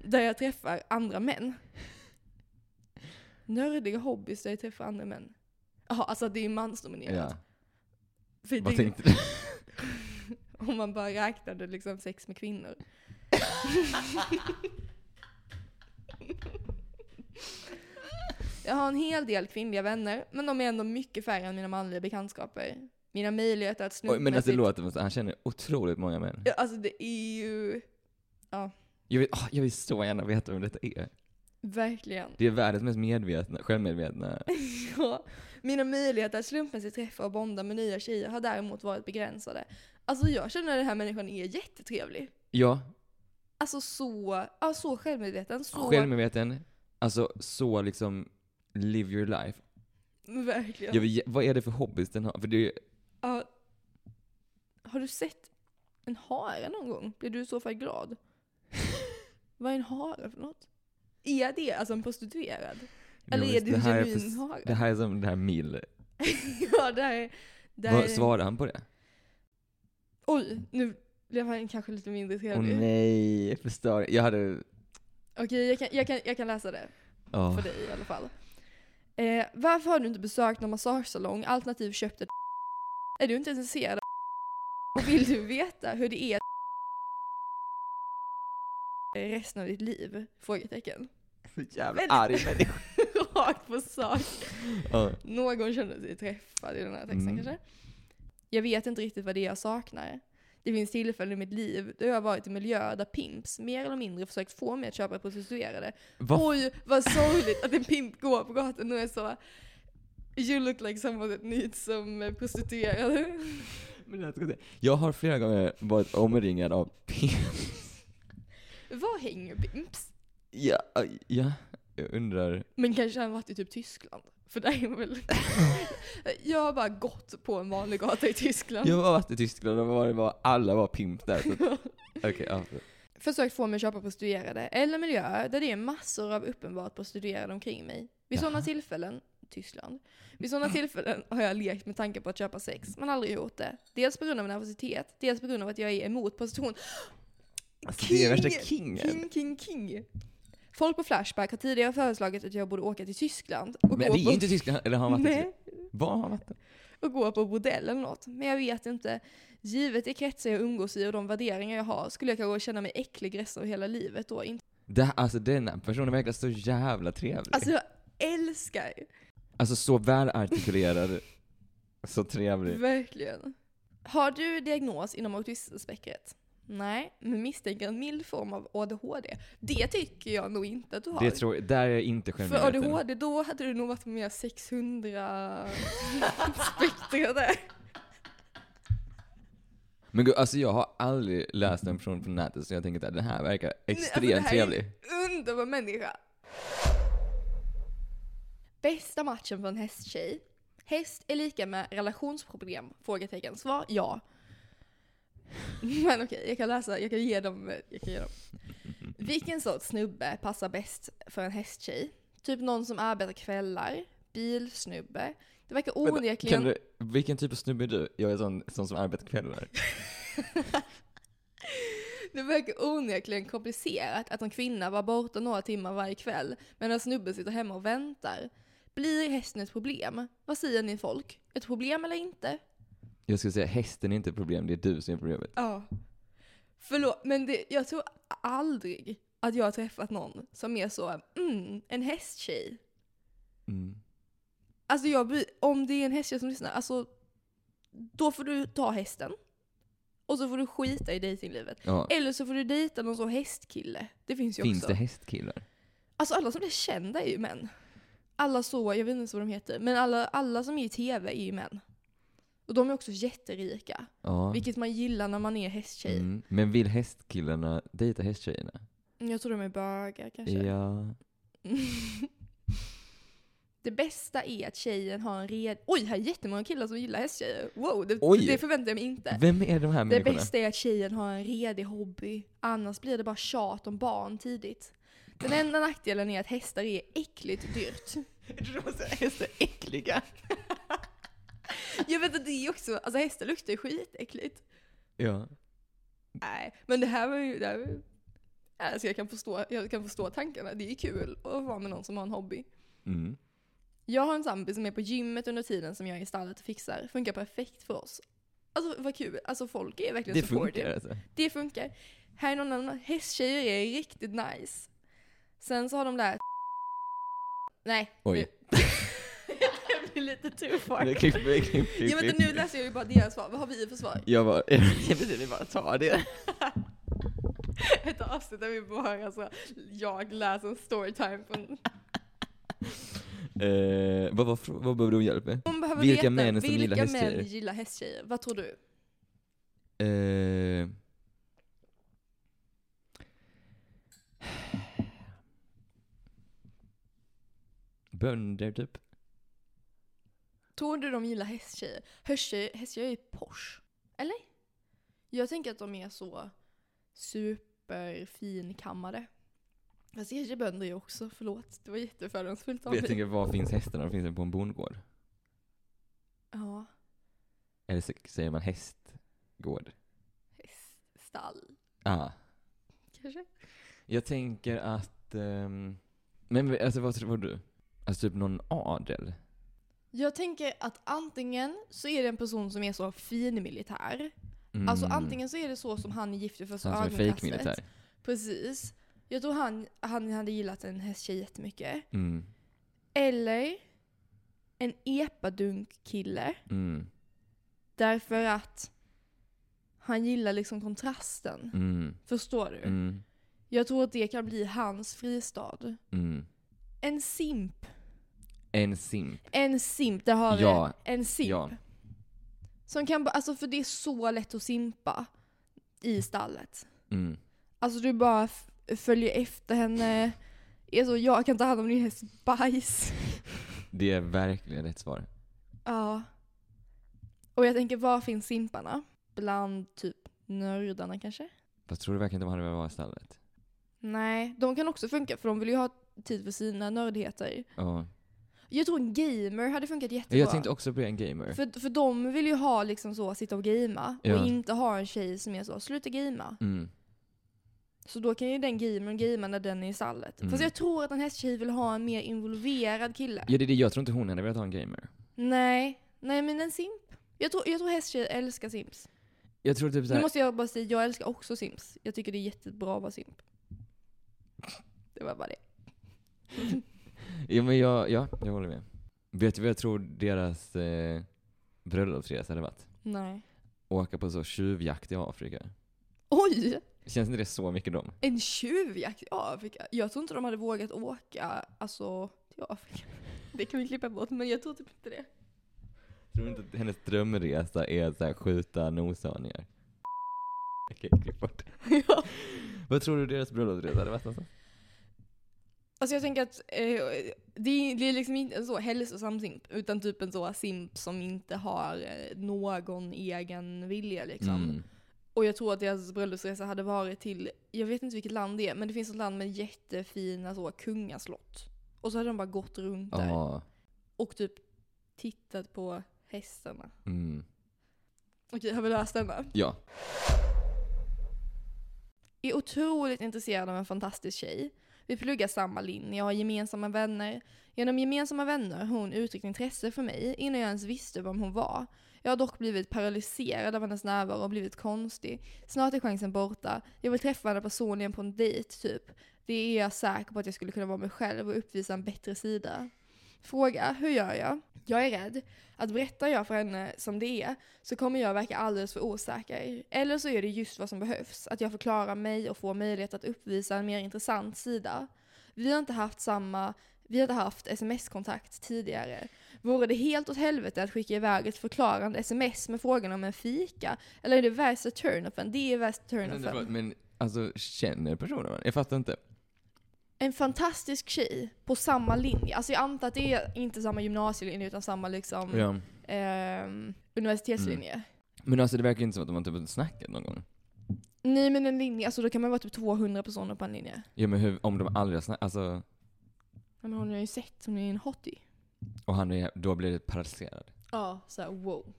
Där jag träffar andra män. Nördiga hobbys där jag träffar andra män. Jaha, alltså det är mansdominerat.
Ja.
För
Vad
det-
tänkte du?
om man bara räknade liksom sex med kvinnor. Jag har en hel del kvinnliga vänner, men de är ändå mycket färre än mina manliga bekantskaper. Mina möjligheter att
Oj, men alltså
slumpmässigt...
det låter som att han känner otroligt många män.
Ja, alltså det är ju...
Jag vill, ah, jag vill så gärna veta vem detta är.
Verkligen.
Det är världens mest medvetna, självmedvetna.
Ja. Mina möjligheter att slumpmässigt träffa och bonda med nya tjejer har däremot varit begränsade. Alltså jag känner att den här människan är jättetrevlig.
Ja,
Alltså så, ja, så självmedveten. Så,
självmedveten. Alltså så liksom, live your life.
Verkligen.
Jag vill, ge- vad är det för hobbys den har? För det är ju
Ja. Har du sett en hare någon gång? Blir du i så fall glad? Vad är en hare för något? Är det alltså en prostituerad? Eller
Jo,
är det en
här
genuin
för-
hare?
Det här är som det här Mill.
ja, det här är... Det här
Vad
är
svarar han på det?
oj, nu blev han kanske lite mindre
Åh
trevlig.
nej, jag förstör. Jag hade...
Okej, jag kan, jag, kan, jag kan läsa det.
ja.
för dig i alla fall. Eh, varför har du inte besökt någon massagesalong alternativt köpt ett Är du inte intresserad av och vill du veta hur det är resten av ditt liv? Frågetecken.
Så jävla
Men-
arg människa.
Rakt på sak.
Ja.
Någon kände sig träffad i den här texten
Mm.
kanske. Jag vet inte riktigt vad det är jag saknar. Det finns tillfällen i mitt liv då jag har varit i miljöer där pimps mer eller mindre försökt få mig att köpa prostituerade
Vad
Oj, vad sorgligt att en pimp går på gatan och är så You look like someone that needs some eh, prostituerade.
Men jag, ska säga, jag har flera gånger varit omringad av pimps.
Var hänger pimps?
Ja, aj, ja, jag undrar.
Men kanske han varit i typ Tyskland? För där är man väl... jag har bara gått på en vanlig gata i Tyskland.
Jag har varit i Tyskland och var, var, alla var pimp där. så att- Okej, ja.
Försökt få mig att köpa prostituerade eller miljöer där det är massor av uppenbart prostituerade omkring mig. Vid sådana
Jaha.
tillfällen, Tyskland, vid sådana tillfällen har jag lekt med tanken på att köpa sex, men aldrig gjort det. Dels på grund av nervositet, dels på grund av att jag är emot prostitution.
Alltså, det är värsta
King.
kingen.
King, king, king. Folk på Flashback har tidigare föreslagit att jag borde åka till Tyskland och,
Men
gå,
det är
på,
inte Tyskland. Eller har han varit i
nej,
Tyskland? Var har han varit där?
och gå på bordell eller något. Men jag vet inte. Givet de kretsar jag umgås i och de värderingar jag har skulle jag kanske känna mig äcklig resten av hela livet då. Inte-
det här, Alltså denna personen verkar så jävla trevlig.
Alltså
Alltså,
jag älskar
så välartikulerad. så trevlig.
verkligen. Har du diagnos inom autismspektrat? Nej, men misstänker en mild form av ADHD. Det tycker jag nog inte att du har.
Det tror jag, där är jag inte
För
självmedveten.
ADHD, då hade du nog varit med 600 spektra där.
Men gud, alltså jag har aldrig läst en person på nätet så jag tänker att den här verkar extremt
alltså, det här är-
trevlig.
Underbar människa! Bästa matchen för en hästtjej? Häst är lika med relationsproblem? Frågetecken. Svar ja. Men okej, jag kan läsa, jag kan ge dem. Jag kan ge dem. Vilken sorts snubbe passar bäst för en hästtjej? Typ någon som arbetar kvällar, bilsnubbe. Det verkar
Vänta,
onekligen...
Kan du, vilken typ av snubbe är du? Jag är sån, sån som arbetar kvällar.
Det verkar onekligen komplicerat att en kvinna var borta några timmar varje kväll medan snubben sitter hemma och väntar. Blir hästen ett problem? Vad säger ni folk? Ett problem eller inte?
Jag skulle säga hästen är inte ett problem, det är du som är problemet.
Ja. Förlåt, men det, jag tror aldrig att jag har träffat någon som är så mm, en hästtjej.
Mm.
Alltså jag blir, om det är en hästtjej som lyssnar, alltså då får du ta hästen. Och så får du skita i dejtinglivet.
Ja.
Eller så får du dejta någon sån hästkille. Det finns ju
Finns
också.
det hästkillar?
Alltså alla som blir kända är ju män. Alla så, jag vet inte ens vad de heter, men alla, alla som är i tv är ju män. Och de är också jätterika.
Ja.
Vilket man gillar när man är hästtjej.
Mm. Men vill hästkillarna dejta hästtjejerna?
Mm, Jag tror de är bögar kanske.
Ja.
det bästa är att tjejen har en red... Oj, här är jättemånga killar som gillar hästtjejer. Wow, det,
Oj.
det förväntar jag mig inte.
Vem är de här
Det
människorna?
bästa är att tjejen har en redig hobby. Annars blir det bara tjat om barn tidigt. Den enda nackdelen är att hästar är äckligt dyrt.
Hästar är äckliga.
Jag vet att det är också, alltså hästar luktar ju skitäckligt.
Ja.
Nej, men det här var ju, det här var ju alltså jag, kan förstå, jag kan förstå tankarna. Det är ju kul att vara med någon som har en hobby.
Mm.
Jag har en sambo som är på gymmet under tiden som jag är i stallet och fixar. Funkar perfekt för oss. Alltså vad kul, alltså folk är verkligen
Det
supportive.
funkar alltså.
Det funkar. Här är någon annan. Hästtjejer är riktigt nice. Sen så har de lärt... Nej.
Oj.
nu- det blir lite too far.
Klipp, klipp, klipp, klipp.
Ja, vänta, nu läser jag ju bara deras svar. Vad har vi för svar?
Jag bara, jag vill bara ta det.
Ett avsnitt där vi bara alltså, jag läser en storytime från...
Eh, vad, var, frå- vad behöver du hjälp med?
Hon behöver
Vilka
veta
män som gillar
vilka
hästtjejer?
män gillar hästtjejer. Vad tror du?
Eh, bönder typ.
Tror du de gillar hästtjejer? Hästtjejer, hästtjejer är Porsche. Eller? Jag tänker att de är så superfinkammade. Fast bönder är också, förlåt. Det var jättefördomsfullt av
Jag
mig.
tänker, var finns hästarna? Finns de på en bondgård?
Ja,
Eller så säger man hästgård?
häststall
Ah.
kanske?
Jag tänker att... ehm, men alltså vad tror du? Alltså typ någon adel?
Jag tänker att antingen så är det en person som är så fin militär.
Mm. Alltså,
Alltså antingen så är det så som han är gift i första
Sån som är
ögonkastet.
fejkmilitär?
Precis. Jag tror han, han hade gillat en hästtjej jättemycket.
Mm.
Eller en epadunk-kille.
Mm.
Därför att han gillar liksom kontrasten.
Mm.
Förstår du?
Mm.
Jag tror att det kan bli hans fristad.
Mm.
En simp.
En simp.
En simp, där har vi
Ja.
det. En simp.
Ja.
Som kan, ba- alltså för det är så lätt att simpa i stallet.
Mm.
Alltså du bara f- följer efter henne. Är så, jag kan ta hand om din hästs bajs.
Det är verkligen rätt svar.
Ja. Och jag tänker, var finns simparna? Bland typ nördarna kanske?
Fast tror du verkligen inte de hade velat vara i stallet?
Nej, de kan också funka för de vill ju ha tid för sina nördigheter.
Ja.
Jag tror en gamer hade funkat jättebra.
Jag tänkte också bli en gamer.
för, för de vill ju ha liksom så, sitta och gamea
Ja.
och inte ha en tjej som är så, sluta gamea.
Mm.
Så då kan ju den gamern gamea när den är i stallet.
Mm.
Fast jag tror att en hästtjej vill ha en mer involverad kille.
Ja, det är det. Jag tror inte hon hade velat ha en gamer.
Nej, nej men en simp. Jag tror, jag tror hästtjejer älskar simps.
Jag tror typ
Nu
såhär...
måste jag bara säga, jag älskar också Sims. Jag tycker det är jättebra att vara simp. Det var bara det.
Ja, men jag, ja, jag håller med. Vet du vad jag tror deras eh, bröllopsresa hade varit?
Nej.
Åka på så tjuvjakt i Afrika.
Oj!
Känns inte det så mycket dem?
En tjuvjakt i Afrika? Jag tror inte de hade vågat åka alltså, till Afrika. Det kan vi klippa bort, men jag tror typ inte det.
Tror du inte att hennes drömresa är att så här skjuta noshörningar? Okej, klipp bort.
ja.
Vad tror du deras bröllopsresa hade varit någonstans?
Alltså jag tänker att eh, det, är, det är liksom inte en så hälsosam simp, utan typ en så simp som inte har eh, någon egen vilja liksom.
Mm.
Och jag tror att deras bröllopsresa hade varit till, jag vet inte vilket land det är, men det finns ett land med jättefina så, kungaslott. Och så hade de bara gått runt där
Ja.
och typ tittat på hästarna.
Mm.
Okej, har vi löst denna?
Ja.
Är otroligt intresserad av en fantastisk tjej. Vi pluggar samma linje och har gemensamma vänner. Genom gemensamma vänner har hon uttryckt intresse för mig innan jag ens visste vem hon var. Jag har dock blivit paralyserad av hennes närvaro och blivit konstig. Snart är chansen borta. Jag vill träffa henne personligen på en dejt, typ. Det är jag säker på att jag skulle kunna vara mig själv och uppvisa en bättre sida. Fråga, hur gör jag? Jag är rädd att berättar jag för henne som det är så kommer jag verka alldeles för osäker. Eller så är det just vad som behövs, att jag förklarar mig och får möjlighet att uppvisa en mer intressant sida. Vi har inte haft samma vi hade haft sms-kontakt tidigare. Vore det helt åt helvete att skicka iväg ett förklarande sms med frågan om en fika? Eller är det värsta turn-offen? Det är värsta
Men, förlåt,
turn-offen.
men alltså, känner personen varandra? Jag fattar inte.
en fantastisk tjej på samma linje. Alltså jag antar att det är inte samma gymnasielinje utan samma liksom,
Ja.
ehm, universitetslinje.
Men alltså det verkar inte som att de har typ snackat någon gång.
Nej men en linje, alltså då kan man vara typ 200 personer på en linje.
Ja men hur, om de aldrig har snackat, alltså,
Ja, men hon har ju sett, hon är ju en hottie.
och han är, då blir det paralyserad.
Ja, såhär wow.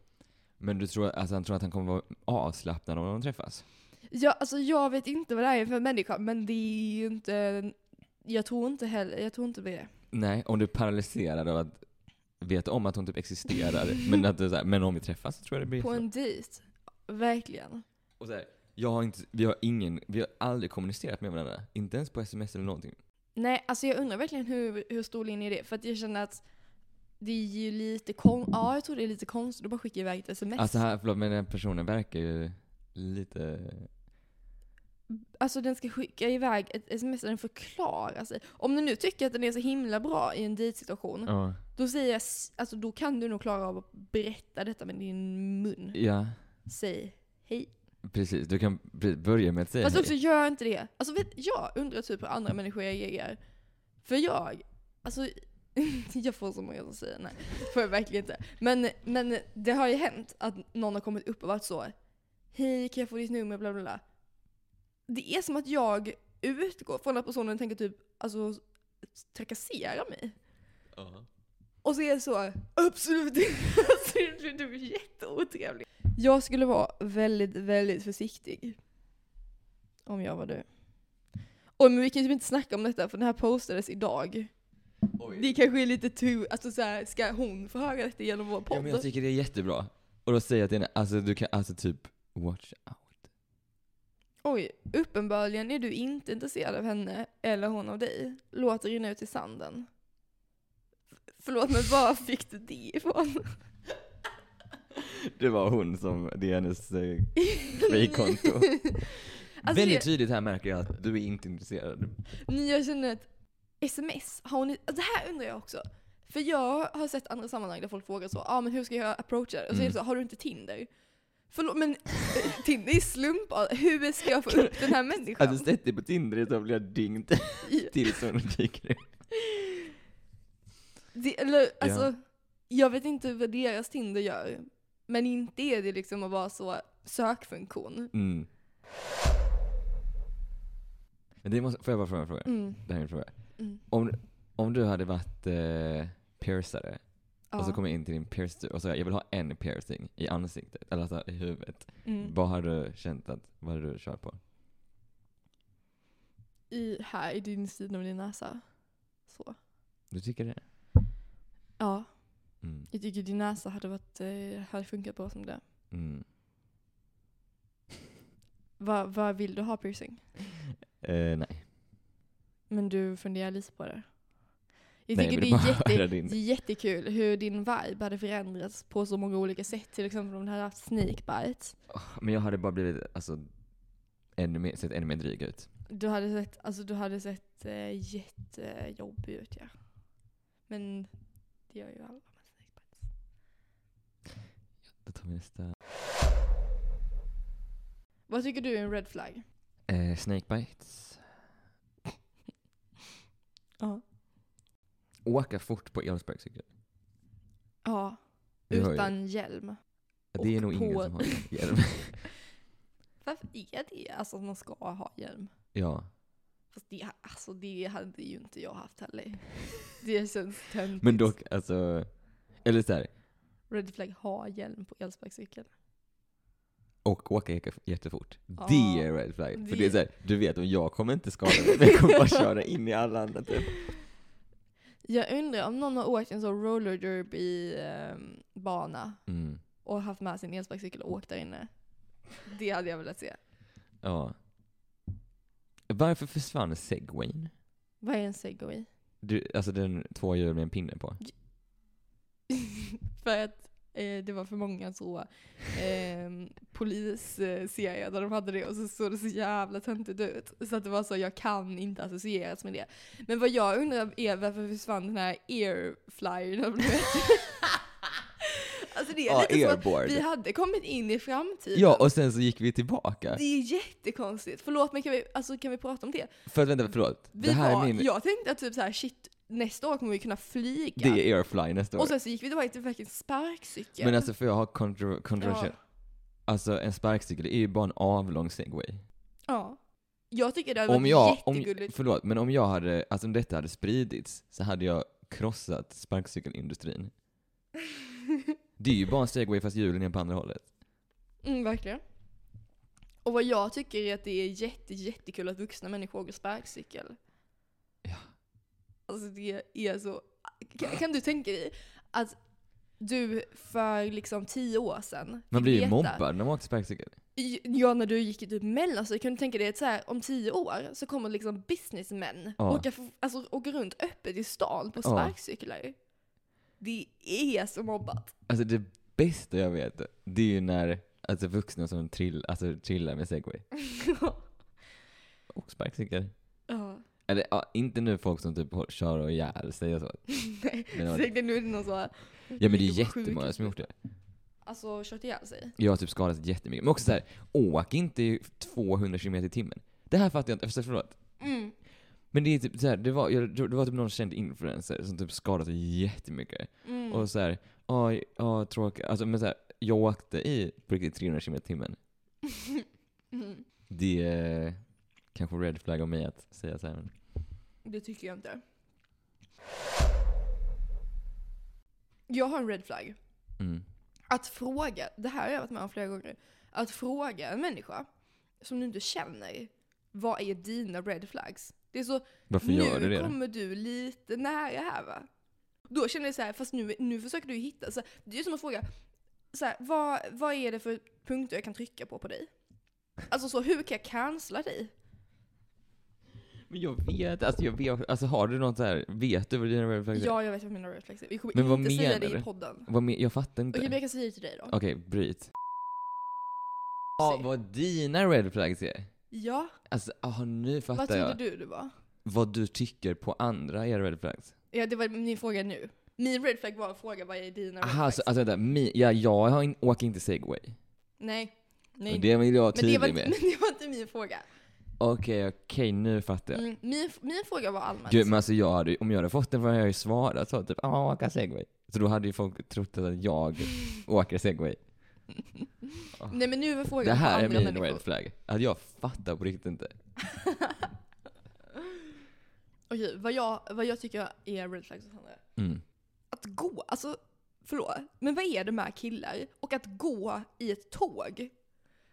Men du tror, alltså han tror att han kommer vara avslappnad om de träffas?
Ja, alltså jag vet inte vad det är för människa, men det är ju inte... Jag tror inte heller, jag tror inte det. är
Nej, om du är paralyserad av att veta om att hon typ existerar, men att du så här, men om vi träffas så tror jag det blir
det. På
så.
en dejt. Verkligen.
Och så här, jag har inte, vi har ingen, vi har aldrig kommunicerat med varandra. Inte ens på sms eller någonting.
Nej, alltså jag undrar verkligen hur, hur stor linje det är. För att jag känner att det är ju lite kon... Ja, jag tror det är lite konstigt att bara skicka iväg ett sms.
Alltså här, förlåt men den här personen verkar ju lite
Alltså den ska skicka iväg ett sms där den förklarar sig. Om du nu tycker att den är så himla bra i en dejtsituation,
Ja.
då säger jag, s- alltså då kan du nog klara av att berätta detta med din mun.
ja,
Säg hej.
precis. Du kan pre- börja med att säga
Fast
hej.
också gör inte det. Alltså vet, jag undrar typ hur andra människor reagerar. För jag, alltså jag får så många som säger nej. Får jag verkligen inte. Men, men det har ju hänt att någon har kommit upp och varit så. Hej kan jag få ditt nummer? Bla bla bla. Det är som att jag utgår från att personen tänker typ alltså trakassera mig. Och så är det så, absolut inte. Alltså, Du du är jätteotrevlig. Jag skulle vara väldigt, väldigt försiktig. Om jag var du. Oj, men vi kan ju typ inte snacka om detta för den här postades idag. Det kanske är lite tur, alltså så här, ska hon få höra detta genom vår
Ja,
podd?
men jag tycker det är jättebra. Och då säger jag till henne, alltså du kan, alltså typ, watch out.
Oj, uppenbarligen är du inte intresserad av henne eller hon av dig. Låt det rinna ut i sanden. F- Förlåt, men var fick du det ifrån?
Det var hon som, det är hennes eh, fejkkonto.
Alltså,
Väldigt
det-
tydligt här märker jag att du är inte intresserad.
Men jag känner att sms, har ni, det här undrar jag också. För jag har sett andra sammanhang där folk frågar så, ah, men hur ska jag approacha det? Och så är det
Mm.
så, har du inte Tinder? Förlåt men eh, Tinder är slump. alltså. Hur ska jag få upp den här människan?
Hade du sett dig på Tinder så blir jag dyngt tills hon dyker upp.
det, eller, alltså, Jag vet inte vad deras Tinder gör. Men inte är det liksom att vara så sökfunktion.
Mm. Men det måste, får jag bara fråga en fråga?
Mm.
Det här är en fråga.
Mm.
Om, om du hade varit eh, piercare
Ja.
och så kommer jag in till din piercer och säger jag vill ha en piercing i ansiktet, eller alltså i huvudet.
mm.
Vad har du känt att, vad har du kört på?
I, här i din sida av din näsa. Så.
Du tycker det?
Ja.
Mm.
Jag tycker din näsa hade, varit, eh, hade funkat bra som det.
Mm.
Vad vad vill du ha piercing?
Eh, nej.
Men du funderar lite på det. Jag
Nej,
tycker
jag
det
ville bara
är,
höra
jätte,
din-
det är jättekul hur din vibe hade förändrats på så många olika sätt. Till exempel om du hade haft snake bite.
Åh, Men jag hade bara blivit, alltså, ännu mer, sett ännu mer dryg ut.
Du hade sett, alltså, du hade sett eh, jättejobbig ut ja. Men det gör ju alla med snake bites.
Då tar vi nästa.
Vad tycker du är en red flag?
Eh, Snakebites.
Ja.
Åka fort på elsparkcykel.
Ja,
Vi har ju-
utan hjälm.
Det är
och
nog ingen
på-
som har hjälm.
Varför är det alltså att man ska ha hjälm?
ja.
Fast det, alltså, det hade ju inte jag haft heller. Det känns töntigt.
Men dock, alltså. Eller såhär,
Red flag ha hjälm på elsparkcykel.
och åka jätte- jättefort.
Ja.
Det är red flag. För
Det-
det är såhär, du vet om jag kommer inte skada mig, men jag kommer bara köra in i alla andra typ.
Jag undrar om någon har åkt en sån roller derby ehm, bana
Mm.
och haft med sin elsparkcykel och åkt där inne. Det hade jag velat se.
Ja. Varför försvann segwayn?
Vad är en segway?
Du, alltså den två hjul med en pinne på.
för att eh, det var för många så ehm, polisserier där de hade det och så såg det så jävla töntigt ut. Så att det var så, jag kan inte associeras med det. Men vad jag undrar är varför försvann den här airflyern? alltså det är
Ja,
lite så att
airboard.
vi hade kommit in i framtiden.
Ja, och sen så gick vi tillbaka.
Det är jättekonstigt. Förlåt men kan vi, alltså, kan vi prata om det?
För att vänta, förlåt.
Vi
det här
var,
är min...
Jag tänkte att typ så här, shit, nästa år kommer vi kunna flyga.
Det är airfly nästa år.
och sen så gick vi tillbaka till verkligen sparkcykel.
Men alltså får jag ha kontro- kontroversiell?
ja.
Alltså en sparkcykel det är ju bara en avlång segway.
ja. Jag tycker det hade
om
varit
jag, om,
jättegulligt.
förlåt, men om jag hade, alltså om detta hade spridits så hade jag krossat sparkcykelindustrin. Det är ju bara en segway fast hjulen är på andra hållet.
mm, verkligen. Och vad jag tycker är att det är jätte, jättekul att vuxna människor åker sparkcykel.
Ja.
Alltså det är så... Kan, kan du tänka dig att du för liksom tio år sedan
Man
fick
blir ju
veta-
mobbad när man åker sparkcykel.
Ja, när du gick i typ mellanstadiet, kan du tänka dig att så här, om tio år så kommer liksom businessmän
Ja.
åka, f- alltså, åka runt öppet i stan på
Ja.
sparkcyklar. Det är så mobbat.
Alltså det bästa jag vet, det är ju när, alltså vuxna som trill, alltså, trillar med segway. och sparkcykel.
Ja.
Eller ja, inte nu folk som typ hå- kör och ihjäl sig och så.
Nej,
Men det var-
säkert nu är det någon så här,
Ja men det är
Sjukt.
jättemånga som har gjort det.
alltså kört ihjäl sig.
Jag har typ skadats jättemycket. Men också så här, åk inte i 200 km i timmen. Det här fattar jag inte, Alltså, förlåt.
Mm.
Men det är typ så här, det var, jag, det var typ någon känd influencer som typ skadade sig jättemycket.
Mm.
Och så här, ja, ja tråkigt. Alltså men så här, jag åkte i på riktigt 300 km i timmen.
mm.
Det är kanske red flag av mig att säga så här. men-
Det tycker jag inte. Jag har en red flag.
Mm.
Att fråga, det här har jag varit med om flera gånger. Att fråga en människa som du inte känner, vad är dina red flags? Det är så,
Varför
nu
gör du det?
kommer du lite nära här va? Då känner jag så här, fast nu, nu försöker du ju hitta. Så här, det är ju som att fråga, så här, vad, vad är det för punkter jag kan trycka på på dig? Alltså så, hur kan jag cancella dig?
Men jag vet, alltså jag vet, alltså har du något så här, vet du vad dina red flags är?
Ja, jag vet vad mina red flags är. Vi kommer
Men vad
inte säga det
menar
i
du?
podden.
Vad men, jag fattar inte.
Okej, men jag kan säga det till dig då.
Okej, bryt. Ja, vad dina red flags är.
Ja,
Alltså, aha, nu
vad
fattar
trodde
jag.
du det var?
Vad du tycker på andra är red flags.
Ja, det var min fråga nu. Min red flag var en fråga, vad är dina red
Aha,
flags?
så, alltså vänta, mi, ja, jag har in, åker inte segway.
nej. Nej.
Och det vill jag vara
men, det
tydlig
var, inte-
med.
men det var inte min fråga.
Okej, okej, nu fattar jag.
Mm, min, min fråga var allmänt.
Gud, men alltså jag hade, om jag hade fått den frågan hade jag ju svarat så, typ ja, åka segway. Så då hade ju folk trott att jag åker segway.
Nej men nu är frågan
Det här
på
är
andra
min
människor.
red flag. Att jag fattar på riktigt inte.
Okej, vad jag, vad jag tycker är red flags hos andra.
Mm.
Att gå, alltså förlåt, men vad är det med killar och att gå i ett tåg?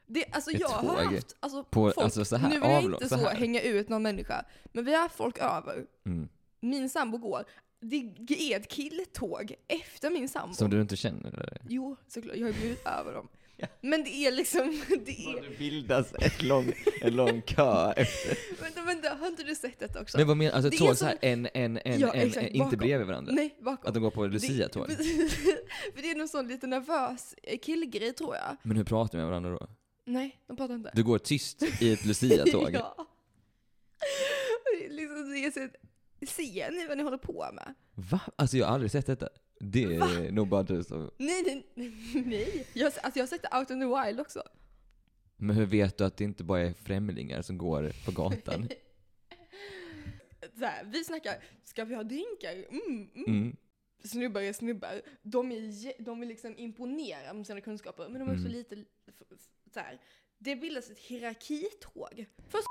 Det, alltså
Ett
jag har
tåg?
haft, alltså,
På-
folk,
alltså, så här,
nu vill jag
avlångt,
inte
så
så
här.
hänga ut någon människa, men vi har haft folk över.
Mm.
Min sambo går, det är ett killtåg efter min sambo.
Som du inte känner eller?
Jo, såklart, jag har ju blivit över dem. Men det är liksom, det är,
Det bildas ett lång, en lång kö
vänta, vänta, har inte du sett detta också?
Men vad menar Alltså
Det är
tåg
som-
såhär en, en, en,
Ja,
en,
exakt,
en inte
bakom.
bredvid varandra?
Nej, bakom.
Att de går på
Det-
Lucia-tåg?
precis. För det är någon sån lite nervös eh, killgrej tror jag.
Men hur pratar du med varandra då?
Nej, de pratar inte.
Du går tyst i ett Lucia-tåg?
ja. Det är liksom, det är så, ser ni vad ni håller på med?
Va? Alltså jag har aldrig sett detta. Det är nog bara du som...
Nej, nej, nej, nej. Jag, har se- alltså, jag har sett det out in the wild också.
Men hur vet du att det inte bara är främlingar som går på gatan?
Så här, vi snackar, ska vi ha drinkar? Mm, mm.
Mm.
Snubbar är snubbar. De, är, je- de vill liksom imponera med sina kunskaper, men de är också
Mm.
lite f- f- så här. Det bildas ett hierarkitåg. Först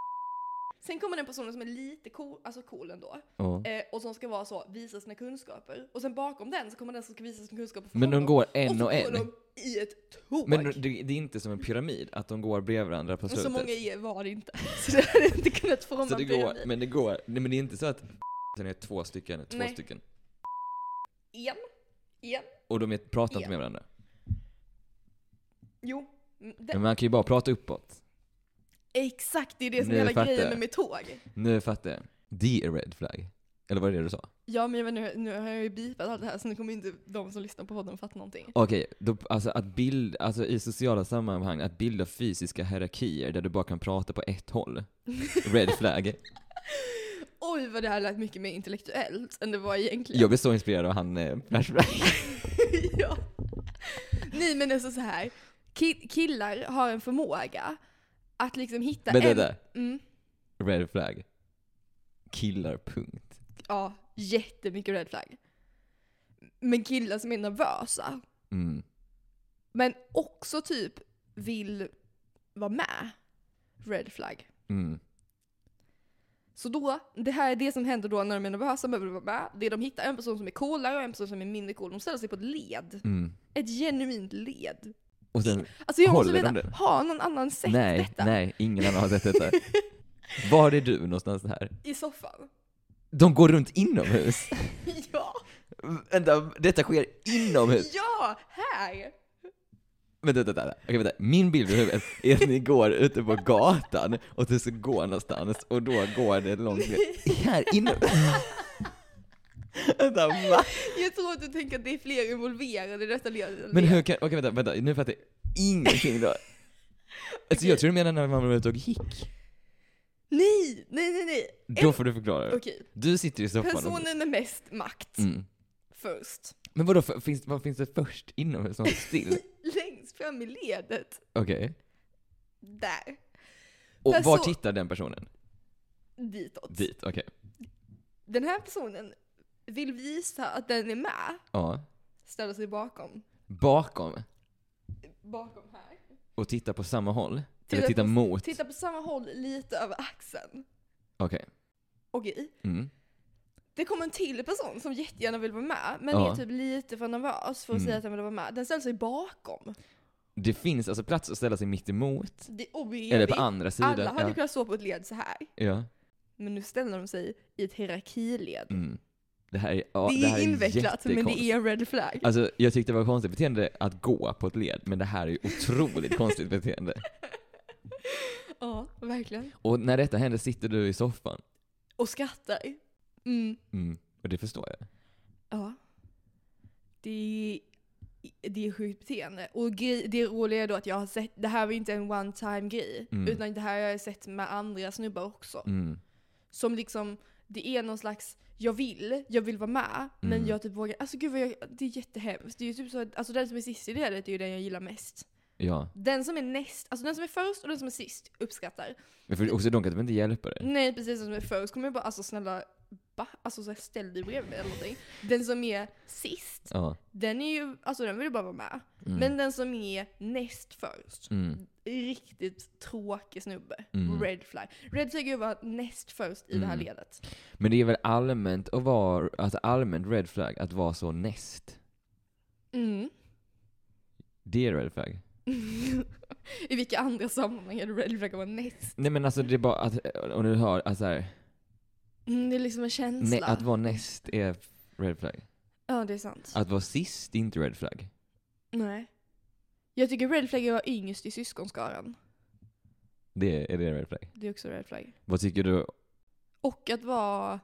Sen kommer den personen som är lite cool, alltså cool ändå.
Ja.
Eh, och som ska vara så, visa sina kunskaper. Och sen bakom den så kommer den som ska visa sina kunskaper för
Men de
honom.
går
och
en
så
och
går
en?
de i ett tåg.
Men det, det är inte som en pyramid, att de går bredvid varandra på
så
slutet?
många är var det inte. Så det hade inte kunnat forma
Så det
en
går,
pyramid.
men det går, nej men det är inte så att sen är två stycken, två
Nej.
stycken.
En. En.
Och de är, pratar inte
Ja.
med varandra.
Jo. Mm, det-
Men man kan ju bara prata uppåt.
Exakt, det är det som
Nu
är hela
fattar jag.
grejen med mitt tåg.
Nu fattar jag. Det är red flag. Eller var det det du sa?
Ja men jag vet, nu, nu har jag ju beepat allt det här så nu kommer inte de som lyssnar på podden fatta någonting.
Okej, då, alltså att bild, alltså i sociala sammanhang, att bilda fysiska hierarkier där du bara kan prata på ett håll. Red flag.
Oj vad det här lät mycket mer intellektuellt än det var egentligen.
Jag blev så inspirerad av han eh, Flashback.
ja. Nej men alltså så här. Ki- killar har en förmåga att liksom hitta
Men det
en...
där,
Mm,
red flag. Killar, punkt.
ja, jättemycket red flag. Men killar som är nervösa.
Mm.
Men också typ vill vara med. Red flag.
Mm.
Så då, det här är det som händer då när de är nervösa men vill vara med. Det är de hittar en person som är coolare och en person som är mindre cool. De ställer sig på ett led.
Mm.
Ett genuint led.
Och sen,
Alltså jag
Håller
måste
de
veta,
det?
har någon annan sett
nej,
detta?
nej, ingen annan har sett detta. Var är du någonstans här?
I soffan.
De går runt inomhus.
Ja!
Vänta, detta sker inomhus.
Ja! Här!
Vänta, vänta, vänta. Okej, vänta. Min bild i huvudet är att ni går ute på gatan och du ska gå någonstans och då går det långt ner. Här inne. vänta, va?
Jag tror att du tänker att det är fler involverade i detta ledet.
Men hur kan... Okej, vänta, vänta. Nu fattar jag ingenting då. Alltså jag tror du menar när man var ute och gick.
Nej, nej, nej, nej.
Då får du förklara.
Okej.
Du sitter i soffan och...
Personen med mest makt
Mm.
först.
Men vadå, för, finns, vad finns det först inomhus som still?
Längst fram i ledet.
Okej.
Där.
Och
Person-
var tittar den personen?
Ditåt.
Dit, okej.
Den här personen vill visa att den är med.
Ja.
Ställa sig bakom.
Bakom
Bakom här.
och tittar på samma håll? Eller
på-
tittar mot?
Titta på samma håll lite över axeln.
Okej.
Okej.
Mm.
Det kommer en till person som jättegärna vill vara med, men
Ja.
är typ lite för nervös för att
Mm.
säga att den vill vara med. Den ställer sig bakom.
Det finns alltså plats att ställa sig mitt emot
Det är
eller
oevigt.
på andra sidan.
Alla hade
ja.
kunnat stå på ett led så här.
ja.
Men nu ställer de sig i ett hierarkiled.
Mm. Det här är, ja,
det är
här
invecklat, men det
jättekonstigt.
är en red flag.
Alltså, jag tyckte det var konstigt beteende att gå på ett led, men det här är ju otroligt konstigt beteende.
Ja, verkligen.
Och när detta händer sitter du i soffan.
Och skrattar. Mm.
Mm. Och det förstår jag.
Ja. Det är, det är sjukt beteende. Och grej, det roliga är då att jag har sett, det här var ju inte en one time grej.
Mm.
Utan det här har jag sett med andra snubbar också.
Mm.
Som liksom, det är någon slags, jag vill, jag vill vara med, men
Mm.
jag typ vågar, alltså gud vad jag, det är jättehemskt. Det är ju typ så att, alltså den som är sist i ledet är ju den jag gillar mest.
Ja.
Den som är näst, alltså den som är först och den som är sist uppskattar.
Men för också de kan typ inte hjälpa dig.
Nej precis, den som är först kommer jag bara, alltså snälla, ba, alltså så här, ställ dig bredvid mig eller någonting. Den som är sist,
Ja.
den är ju, alltså den vill ju bara vara med.
Mm.
Men den som är näst först,
Mm.
riktigt tråkig snubbe.
Mm.
Red flag. Red flag är ju att vara näst först i det här
Mm.
ledet.
Men det är väl allmänt att vara, alltså allmänt red flag att vara så näst.
Mm.
Det är red flag.
I vilka andra sammanhang är du red flag att vara näst?
Nej men alltså det är bara att, om du hör, alltså här,
Mm, det är liksom en känsla.
nej, att vara näst är red flag.
Ja, det är sant.
Att vara sist är inte red flag.
Nej. Jag tycker red flag är att vara yngst i syskonskaran.
Det är, är det red flag.
Det är också red flag.
Vad tycker du,
Och att vara...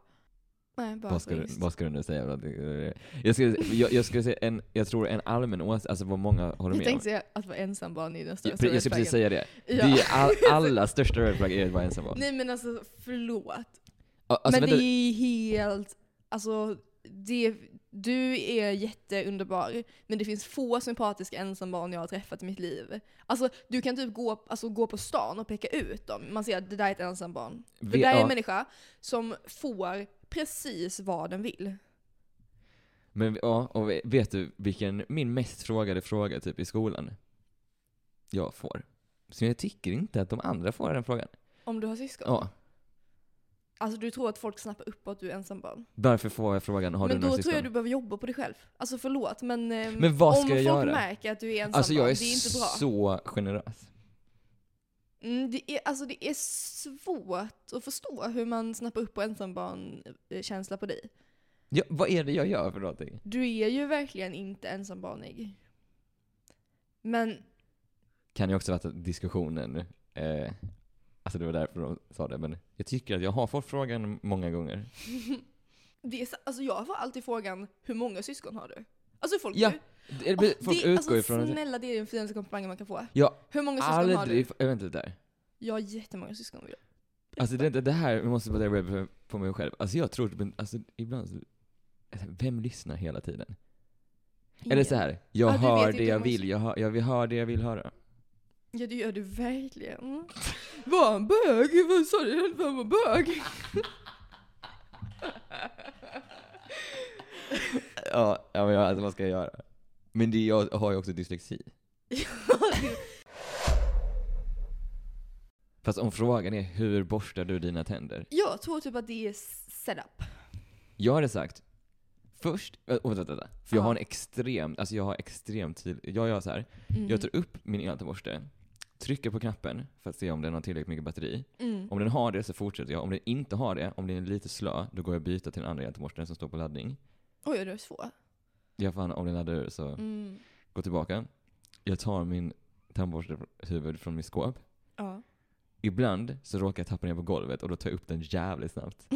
Nej, bara
vad ska,
vara
du,
yngst.
vad ska du nu säga? Vad tycker du? Jag skulle, jag, jag skulle säga en, jag tror en allmän åsikt, alltså vad många håller
Jag
med om.
tänkte säga att vara ensam barn är den
Jag,
största
jag
red
skulle precis säga
flaggen.
det.
Ja.
Det är ju all, alla största red flag är att vara ensam barn.
Nej men alltså förlåt.
Ja, Alltså,
men
vänta,
det är helt... Alltså, det, du är jätteunderbar, men det finns få sympatiska ensambarn jag har träffat i mitt liv. Alltså, du kan typ gå, alltså, gå på stan och peka ut dem. Man ser att det där är ett ensambarn. Det
vi-
där är en
ja.
människa som får precis vad den vill.
Men ja, och vet du vilken min mest frågade fråga typ i skolan? Jag får. Så jag tycker inte att de andra får den frågan.
Om du har syskon.
Ja.
Alltså du tror att folk snappar upp att du är ensambarn.
Varför får jag frågan har
men
du
då
några
tror
syskon?
jag du behöver jobba på dig själv. Alltså förlåt, men, eh,
Men vad
om
ska jag
folk
göra?
märker att du är ensambarn,
alltså jag är,
det är inte bra.
så generös.
Mm, det, är, alltså det är svårt att förstå hur man snappar upp på ensambarn-känsla på dig.
Ja, vad är det jag gör för någonting?
Du är ju verkligen inte ensambarnig. Men,
Kan ju också vara att diskussionen, eh, alltså det var därför de sa det, men jag tycker att jag har fått frågan många gånger.
det är, så- alltså jag får alltid frågan hur många syskon har du? Alltså folk,
Ja,
du,
det, det,
Åh,
folk
det,
utgår
alltså,
ifrån att
Snälla, det är den finaste komplimangen man kan få.
jag
Hur många syskon har du?
aldrig, äh, vänta lite där.
Jag har jättemånga syskon. vill jag.
Alltså det, det det här måste jag bara rubba på mig själv. Alltså jag tror, men alltså ibland så, alltså, vem lyssnar hela tiden? Eller
Ingen.
så här, jag
Ja, du vet
hör
inte
det
hur
jag
många
vill, jag hör, jag vill höra det jag vill höra.
Ja, det gör du verkligen. Var han bög? Vad sa du att han var bög?
Ja, ja men jag, alltså vad ska jag göra? Men det, jag har ju också dyslexi. Fast om frågan är hur borstar du dina tänder?
Jag tror typ att det är setup.
Jag hade sagt, först, äh, vänta, vänta, vänta. För jag
Ja.
har en extremt, alltså jag har extremt tydlig, jag gör så här.
Mm.
jag tar upp min eltandborste, trycker på knappen för att se om den har tillräckligt mycket batteri.
mm.
Om den har det så fortsätter jag. Om den inte har det, om den är lite slö, då går jag och byter till den andra hjälteborsten som står på laddning.
Oj, det är svårt.
Jag fan, om den laddar ur så
Mm.
går tillbaka. Jag tar min tandborstehuvud från mitt skåp.
Ja.
Ibland så råkar jag tappa ner på golvet och då tar jag upp den jävligt
Mm.
snabbt.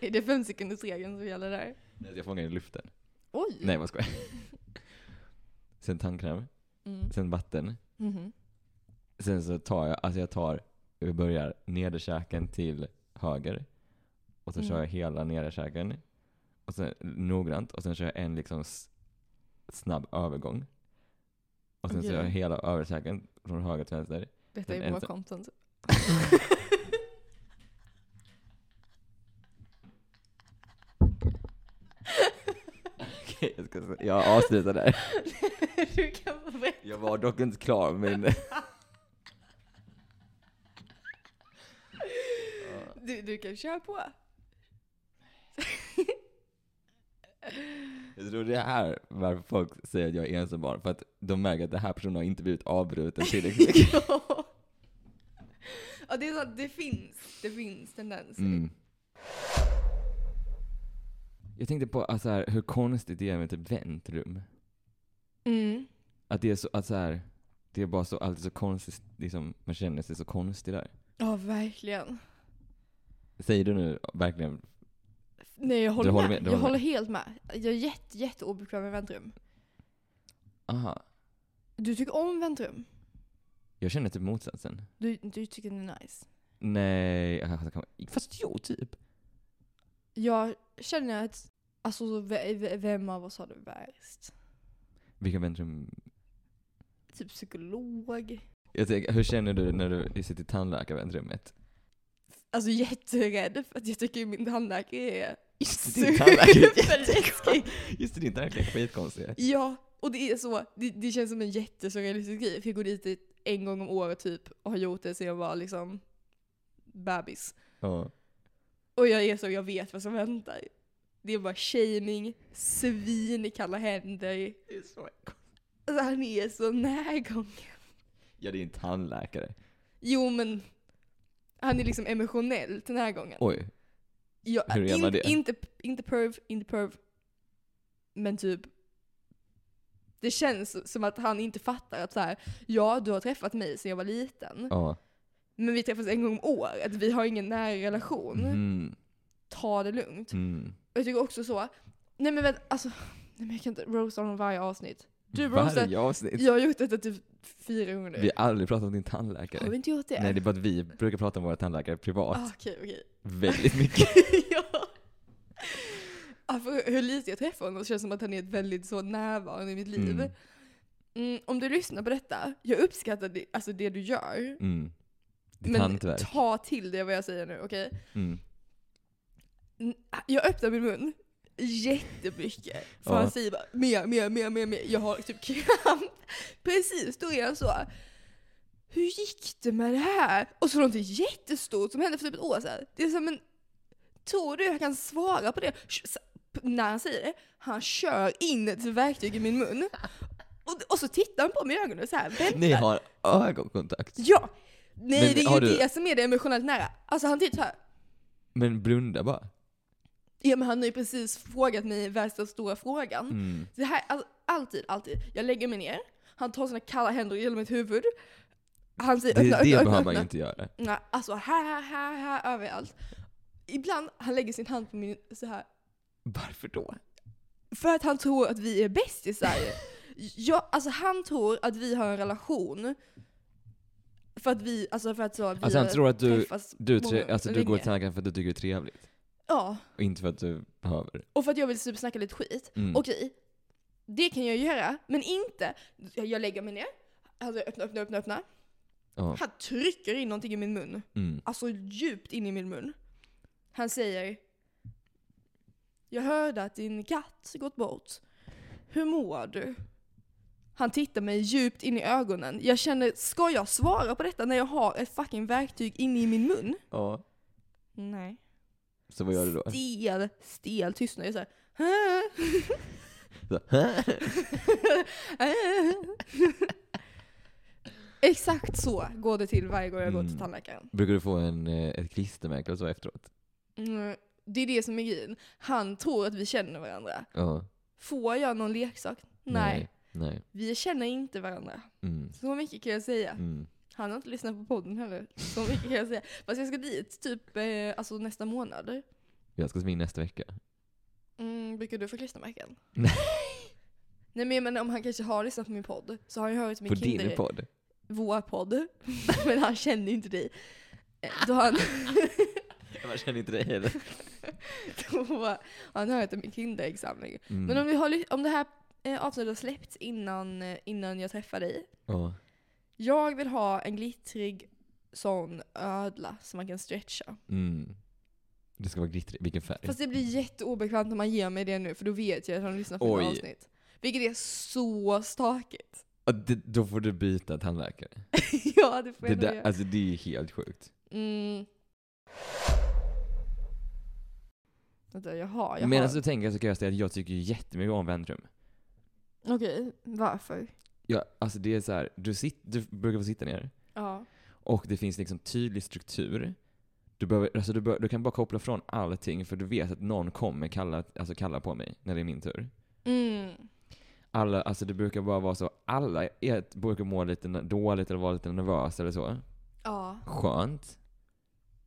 är det fem sekunders regeln som gäller där?
Jag fångar den i luften.
Oj!
Nej, vad skojar. Sen tandkräm,
Mm.
sen vatten.
Mhm.
Sen så tar jag, alltså jag tar jag börjar nederkäken till höger. Och sen
Mm.
kör jag hela nederkäken. Och sen noggrant. Och sen kör jag en liksom s- snabb övergång. Och sen
Okej.
kör jag hela överkäken från höger till vänster.
Detta är
Men
bra
är det-
content.
Okej, jag, ska, s- jag avslutar där.
du kan få berätta.
Jag var dock inte klar med min...
Du, du kan köra på.
Jag tror det är här varför folk säger att jag är ensam barn. För att de märker att den här personen har inte blivit avbruten tillräckligt mycket.
ja. ja, det är sant. Det finns, det finns tendenser.
Mm. Jag tänkte på alltså här, hur konstigt det är med typ väntrum.
Mm.
Att det är så, att så här, det är bara så, alltid så konstigt, liksom, man känner sig så konstig där.
Ja, verkligen.
Säger du nu verkligen,
Nej, jag håller,
Du håller
med.
med, du
Jag
håller
håller helt med. Jag är jätte, jätte obekväm med väntrum.
aha,
Du tycker om väntrum.
jag känner typ motsatsen.
Du, du tycker det är nice.
Nej, jag hatar kameror. fast jo typ.
Jag känner att, alltså så ve- ve- vem av oss har det värst?
Vilka väntrum?
Typ psykolog.
Jag tänker, hur känner du när du sitter i tandläkarväntrummet?
Alltså jätterädd för att jag tycker min tandläkare är
Just det, din tandläkare är
superläskig.
Just det, din tandläkare är skitkonstig.
Ja, och det är så. Det, det känns som en jättesurrealistisk grej. För jag går dit ett- en gång om året typ och har gjort det sedan jag var liksom bebis.
Ja.
Och jag är så, jag vet vad som väntar. Det är bara shaming, svin i kalla händer. Alltså han är så närgången.
ja, det är en tandläkare.
Jo men, han är liksom emotionellt närgången.
Oj,
Ja,
Hur är
in,
man det?
Inte, inte perv, inte perv. Men typ. Det känns som att han inte fattar att så här, ja du har träffat mig sedan jag var liten.
ja.
Men vi träffas en gång om året, vi har ingen nära relation.
Mm.
Ta det lugnt.
Mm.
Och jag tycker också så, nej men vänta, alltså. Nej men jag kan inte roasta honom varje avsnitt. Du roastar,
Varje avsnitt.
jag har gjort detta typ fyra gånger nu.
Vi har aldrig pratat om din
har
tandläkare.
vi inte gjort det?
Nej, det är bara att vi brukar prata om våra tandläkare privat
ah, okej, okej.
väldigt mycket.
ja. ja för hur lite jag träffar honom så känns det som att han är ett väldigt så närvarande i mitt liv.
Mm.
Mm. om du lyssnar på detta, jag uppskattar det, alltså det du gör.
Mm. Ditt
men
hantverk.
ta till det vad jag säger nu, okej?
Mm.
Mm, Jag öppnar min mun jättemycket. För
Ja.
han säger bara mer, mer, mer, mer, mer. Jag har typ kramp. Precis, då är han så. Hur gick det med det här? Och så något jättestort som hände för typ ett år sedan. Det är som en... Tror du jag kan svara på det? Sh- s- p- När han säger det, han kör in ett verktyg i min mun. Och, och så tittar han på mig i ögonen så här. Vänta.
Ni har ögonkontakt.
Ja! Nej,
Men
det är
har
ju
du-
det som är det emotionellt nära. Alltså han tittar så här.
Men blunda bara.
Ja men han har ju precis frågat mig värsta stora frågan.
Mm.
Det här, all, alltid, alltid. Jag lägger mig ner, han tar sina kalla händer genom mitt huvud. Han säger
Det,
öppna,
det
öppna, öppna,
behöver man
öppna.
ju inte göra.
Nej, alltså här, här, här, överallt. Ibland, han lägger sin hand på min så här
Varför då?
för att han tror att vi är bästisar. Jag, alltså han tror att vi har en relation. För att vi, alltså för att så, vi
Alltså han tror att du,
träffas
du, tre,
många-
alltså, du går
länge.
till tandläkaren för att du tycker det är trevligt.
Ja,
Och inte för att du behöver.
och för att jag vill typ snacka lite skit.
Mm.
Okej, det kan jag göra, men inte... Jag, jag lägger mig ner, alltså jag öppnar, öppnar, öppnar, öppnar.
Ja.
Han trycker in någonting i min mun.
Mm.
Alltså djupt in i min mun. Han säger... Jag hörde att din katt gått bort. Hur mår du? Han tittar mig djupt in i ögonen. Jag känner, ska jag svara på detta när jag har ett fucking verktyg inne i min mun?
ja.
Nej.
Så vad gör du då?
Stel, stel tystnad. Jag säger
Så,
Exakt så går det till varje gång jag går
Mm.
till tandläkaren.
Brukar du få en, eh, ett klistermärke och så efteråt?
Mm, det är det som är grejen. Han tror att vi känner varandra.
Ja.
Får jag någon leksak? Nej.
Nej.
Vi känner inte varandra.
Mm.
Så mycket kan jag säga.
Mm.
Han har inte lyssnat på podden heller. Så mycket kan jag säga. Fast jag ska dit typ eh, alltså nästa månad.
Jag ska sminka nästa vecka.
Mm, brukar du få klistermärken?
Nej.
Nej men jag menar om han kanske har lyssnat på min podd så har han ju hört min
På
kinder...
din podd?
vår podd. men han känner ju inte dig. eh, då han,
Jag känner inte dig heller.
då han har hört om min Tinder-examen.
Mm.
Men om, vi har, ly- om det här eh, avsnittet har släppts innan, eh, innan jag träffar dig.
Ja.
Jag vill ha en glittrig sån ödla som man kan stretcha.
Mm. Det ska vara glittrigt. Vilken färg?
Fast det blir jätteobekvämt när man ger mig det nu för då vet jag att han lyssnar på
Oj.
mina avsnitt. Vilket är så stakigt.
Ja, det, då får du byta tandläkare.
ja, det får
Det,
jag nog
där,
göra.
alltså, det är ju helt sjukt.
Mm. Vänta, jaha, jaha.
Medan du tänker så kan jag säga att jag tycker ju jättemycket om väntrum.
Okej, varför?
Ja, alltså det är så här, du, sit, du brukar få sitta ner
Ja.
och det finns liksom tydlig struktur. Du, behöver, alltså du, bör, du kan bara koppla från allting för du vet att någon kommer kalla, alltså kalla på mig när det är min tur.
Mm.
Alla, alltså det brukar bara vara så, alla är, brukar må lite n- dåligt eller vara lite nervös eller så.
Ja,
Skönt.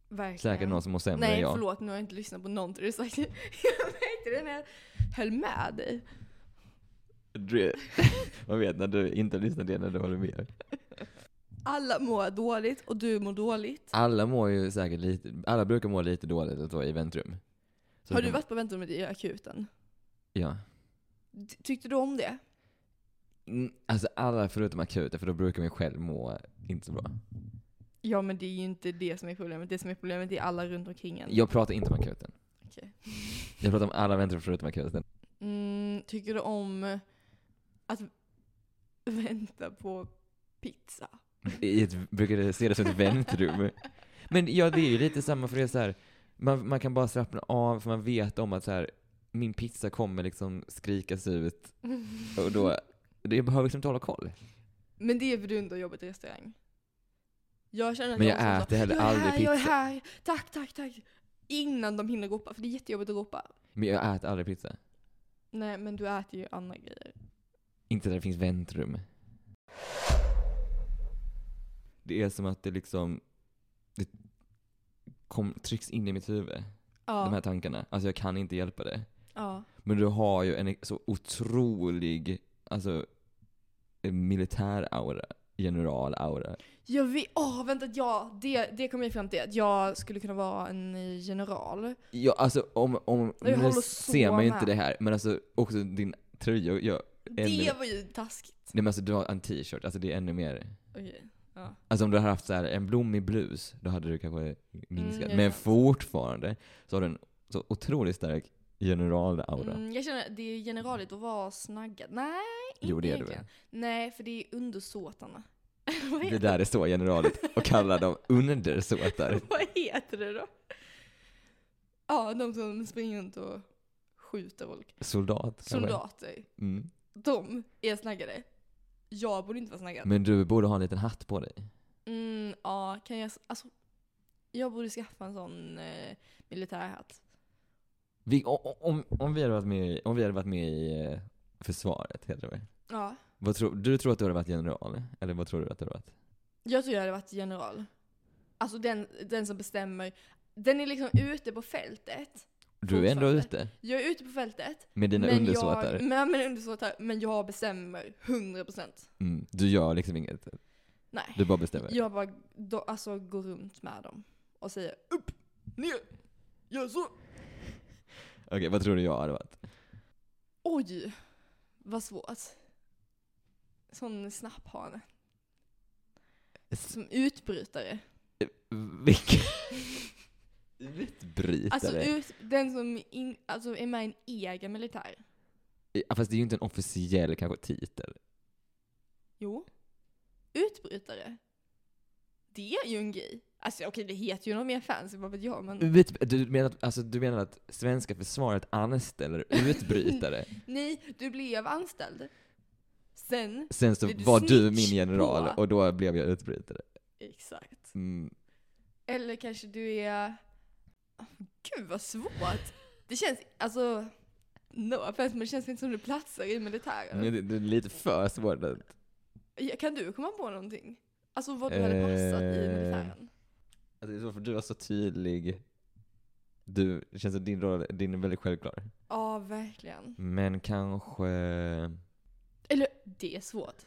verkligen.
Säkert någon som mår sämre än
Nej,
jag.
förlåt. Nu har jag inte lyssnat på någonting du sagt. Jag märkte det när jag höll med dig.
Du, man vet när du inte lyssnar det när du håller med.
Alla mår dåligt och du mår dåligt.
Alla mår ju säkert lite, alla brukar må lite dåligt eller så i väntrum. Så
Har
det
du
kan-
varit på väntrummet i akuten?
Ja.
Ty- Tyckte du om det?
Mm, Alltså alla förutom akuten, för då brukar man ju själv må inte så bra.
Mm. Ja, men det är ju inte det som är problemet. Det som är problemet är alla runt omkring en.
Jag pratar inte om akuten.
Okej.
Jag pratar om alla väntrum förutom akuten.
Mm, tycker du om att vänta på pizza?
I ett, brukar det se det som ett väntrum. Men ja, det är ju lite samma för det är så här. Man, man kan bara slappna av för man vet om att så här, min pizza kommer liksom skrikas ut och då, det behöver liksom inte hålla koll.
Men det är för du inte har jobbat i restaurang. Jag känner att
Men jag
också
äter heller
jag är
aldrig
här, Jag är
pizza."
här, tack, tack, tack. Innan de hinner ropa, för det är jättejobbigt att ropa.
Men jag äter aldrig pizza.
Nej, men du äter ju andra grejer.
Inte där det finns väntrum. Det är som att det liksom det kom, trycks in i mitt huvud,
Ja.
de här tankarna. Alltså jag kan inte hjälpa det.
ja.
Men du har ju en så otrolig, alltså en militär-aura. General-aura.
Jag vet, åh vänta, ja, det, det kom jag fram till. Att jag skulle kunna vara en general.
Ja, alltså om, om
Jag
nu
håller så
ser man ju
med.
inte det här, men alltså också din tröja. Ja, ännu,
Det
nej
var ju taskigt.
men alltså du har en t-shirt, alltså det är ännu mer.
Okej. Ja.
Alltså om du hade haft så här en blommig blus, då hade du kanske minskat.
jag
men
vet.
fortfarande så har du en så otroligt stark general-aura.
Mm, jag känner att det är generaligt att vara snaggad. Nej, inte
jo, det är du
egentligen.
väl?
Nej, för det är undersåtarna. Vad
Det
heter-
där är så generaligt och kallar dem undersåtar.
Vad heter det då? Ja, de som springer runt och skjuter folk.
Soldat kanske?
Soldater.
Mm.
De är snaggade. Jag borde inte vara snaggad.
Men du borde ha en liten hatt på dig.
Mm, ja, kan jag... Alltså, jag borde skaffa en sån eh, militärhatt.
Vi, o- om, om, vi hade varit med, i- om vi hade varit med i eh, försvaret, heter det väl?
Ja.
vad tror, Du tror att du hade varit general? Eller vad tror du att du hade varit?
Jag tror jag hade varit general. Alltså den, den som bestämmer. Den är liksom ute på fältet.
Du är ändå
Fortfarande.
ute
Jag är ute på fältet.
med dina
men
undersåtar.
Jag, men, men, undersåtar. Men jag bestämmer 100%.
Mm. Du gör liksom inget.
Nej.
Du bara bestämmer.
Jag bara då, alltså, går runt med dem och säger upp, ner, gör så.
Okej, vad tror du jag hade varit?
Oj, vad svårt. Sån snapphane. Som utbrytare.
Vilken... Utbrytare?
Alltså ut, den som in, alltså, är med i en egen militär.
Ja, Fast det är ju inte en officiell kanske titel.
Jo. Utbrytare. Det är ju en grej. Alltså okej, det heter ju något mer fancy, vad vet jag. Men
Ut- Du menar, att- alltså, du menar att svenska försvaret anställer utbrytare?
nej, du blev anställd. Sen,
Sen så
Är du
var du min
snitch
general
på?
och då blev jag utbrytare.
exakt.
Mm.
Eller kanske du är... Gud vad svårt! Det känns, alltså... No offense, men det känns inte som du platsar i militären.
Men det, det är lite för svårt att...
Ja, Kan du komma på någonting? Alltså vad du hade passat i
Eh.
militären?
Alltså, det är svårt för du var så tydlig. Du, det känns som din roll din är väldigt självklar.
Ja, verkligen.
Men kanske...
Eller, det är svårt.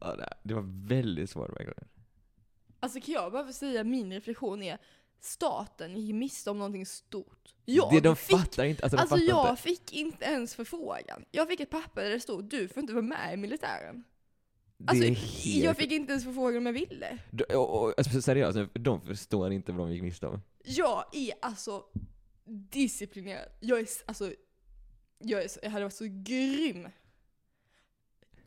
Ja, det- det var väldigt svårt verkligen.
Alltså kan jag bara få säga min reflektion är staten gick miste om någonting stort. Jag
det de
fick
fattar inte, alltså, de
Alltså
fattar
jag
inte.
fick inte ens förfrågan. Jag fick ett papper där det stod du får inte vara med i militären.
Det
Alltså
är helt...
jag fick inte ens förfrågan om jag ville.
De- och- och- alltså, seriöst, nu, de förstår inte vad de gick miste om.
Jag är alltså disciplinerad. Jag är s- alltså, jag, är, så- jag hade varit så grym.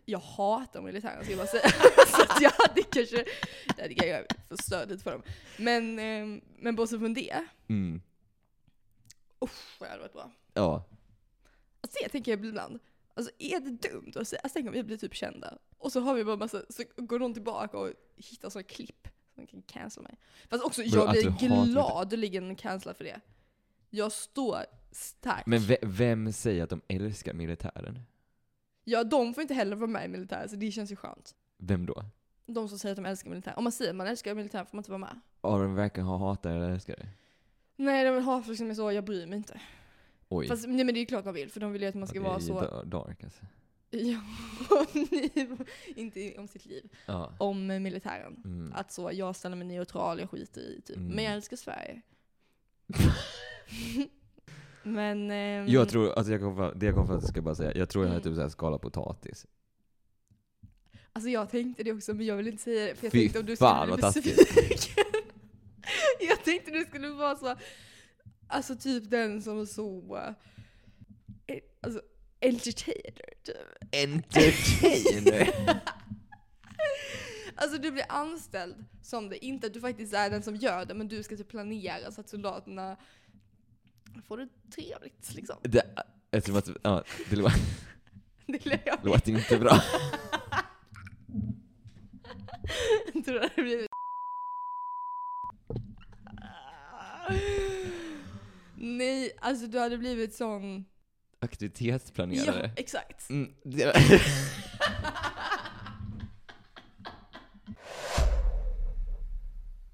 Jag hatar militären ska jag bara säga. så att jag hade kanske, jag hade kanske förstört lite för dem. Men, eh, men bortsett från det,
Mm.
usch vad det hade varit bra.
Ja.
Alltså det tänker jag ibland. Alltså är det dumt att säga, alltså, tänk om vi blir typ kända. Och så har vi bara massa, så går någon tillbaka och hittar sådana klipp som kan cancella mig. Fast också,
Vadå,
jag
att
blir
du alltså, hatar det?
gladeligen cancellad för det. Jag står stark.
Men ve- vem säger att de älskar militären?
Ja, de får inte heller vara med i militären, så det känns ju skönt.
Vem då?
De som säger att de älskar militären. Om man säger att man älskar militären får man inte vara med.
Ja, de verkar ha hatat eller älskar det.
Nej, de har folk som är så, jag bryr mig inte.
Oj.
Fast nej, men det är ju klart man vill, för de vill ju att man ska
Ja, det
vara
är da-
så...
Dark alltså.
Ja, ni- inte om sitt liv.
Ja.
Om eh, militären.
Mm.
Att så, jag ställer mig neutral, jag skiter i typ.
Mm.
Men jag älskar Sverige. men... ehm,
Jag tror, alltså jag kom för, det jag kom för att ska bara säga, jag tror jag hade
Mm.
typ såhär skalat potatis.
Alltså jag tänkte det också, men jag vill inte säga det. För jag
Fy
tänkte om du skulle
fan,
bli
vad taskigt.
besviken. jag tänkte du skulle vara så... Alltså typ den som så... eh, Alltså, entertainer typ.
Entertainer.
Alltså du blir anställd som det, inte att du faktiskt är den som gör det, men du ska typ planera så att soldaterna får det trevligt liksom.
Det, jag tror att, ja, det lå-
Det lär jag
låter inte bra.
Jag tror att det blir... Nej, alltså du hade blivit sån... Ja,
Aktivitetsplanerare.
exakt.
Mm, det,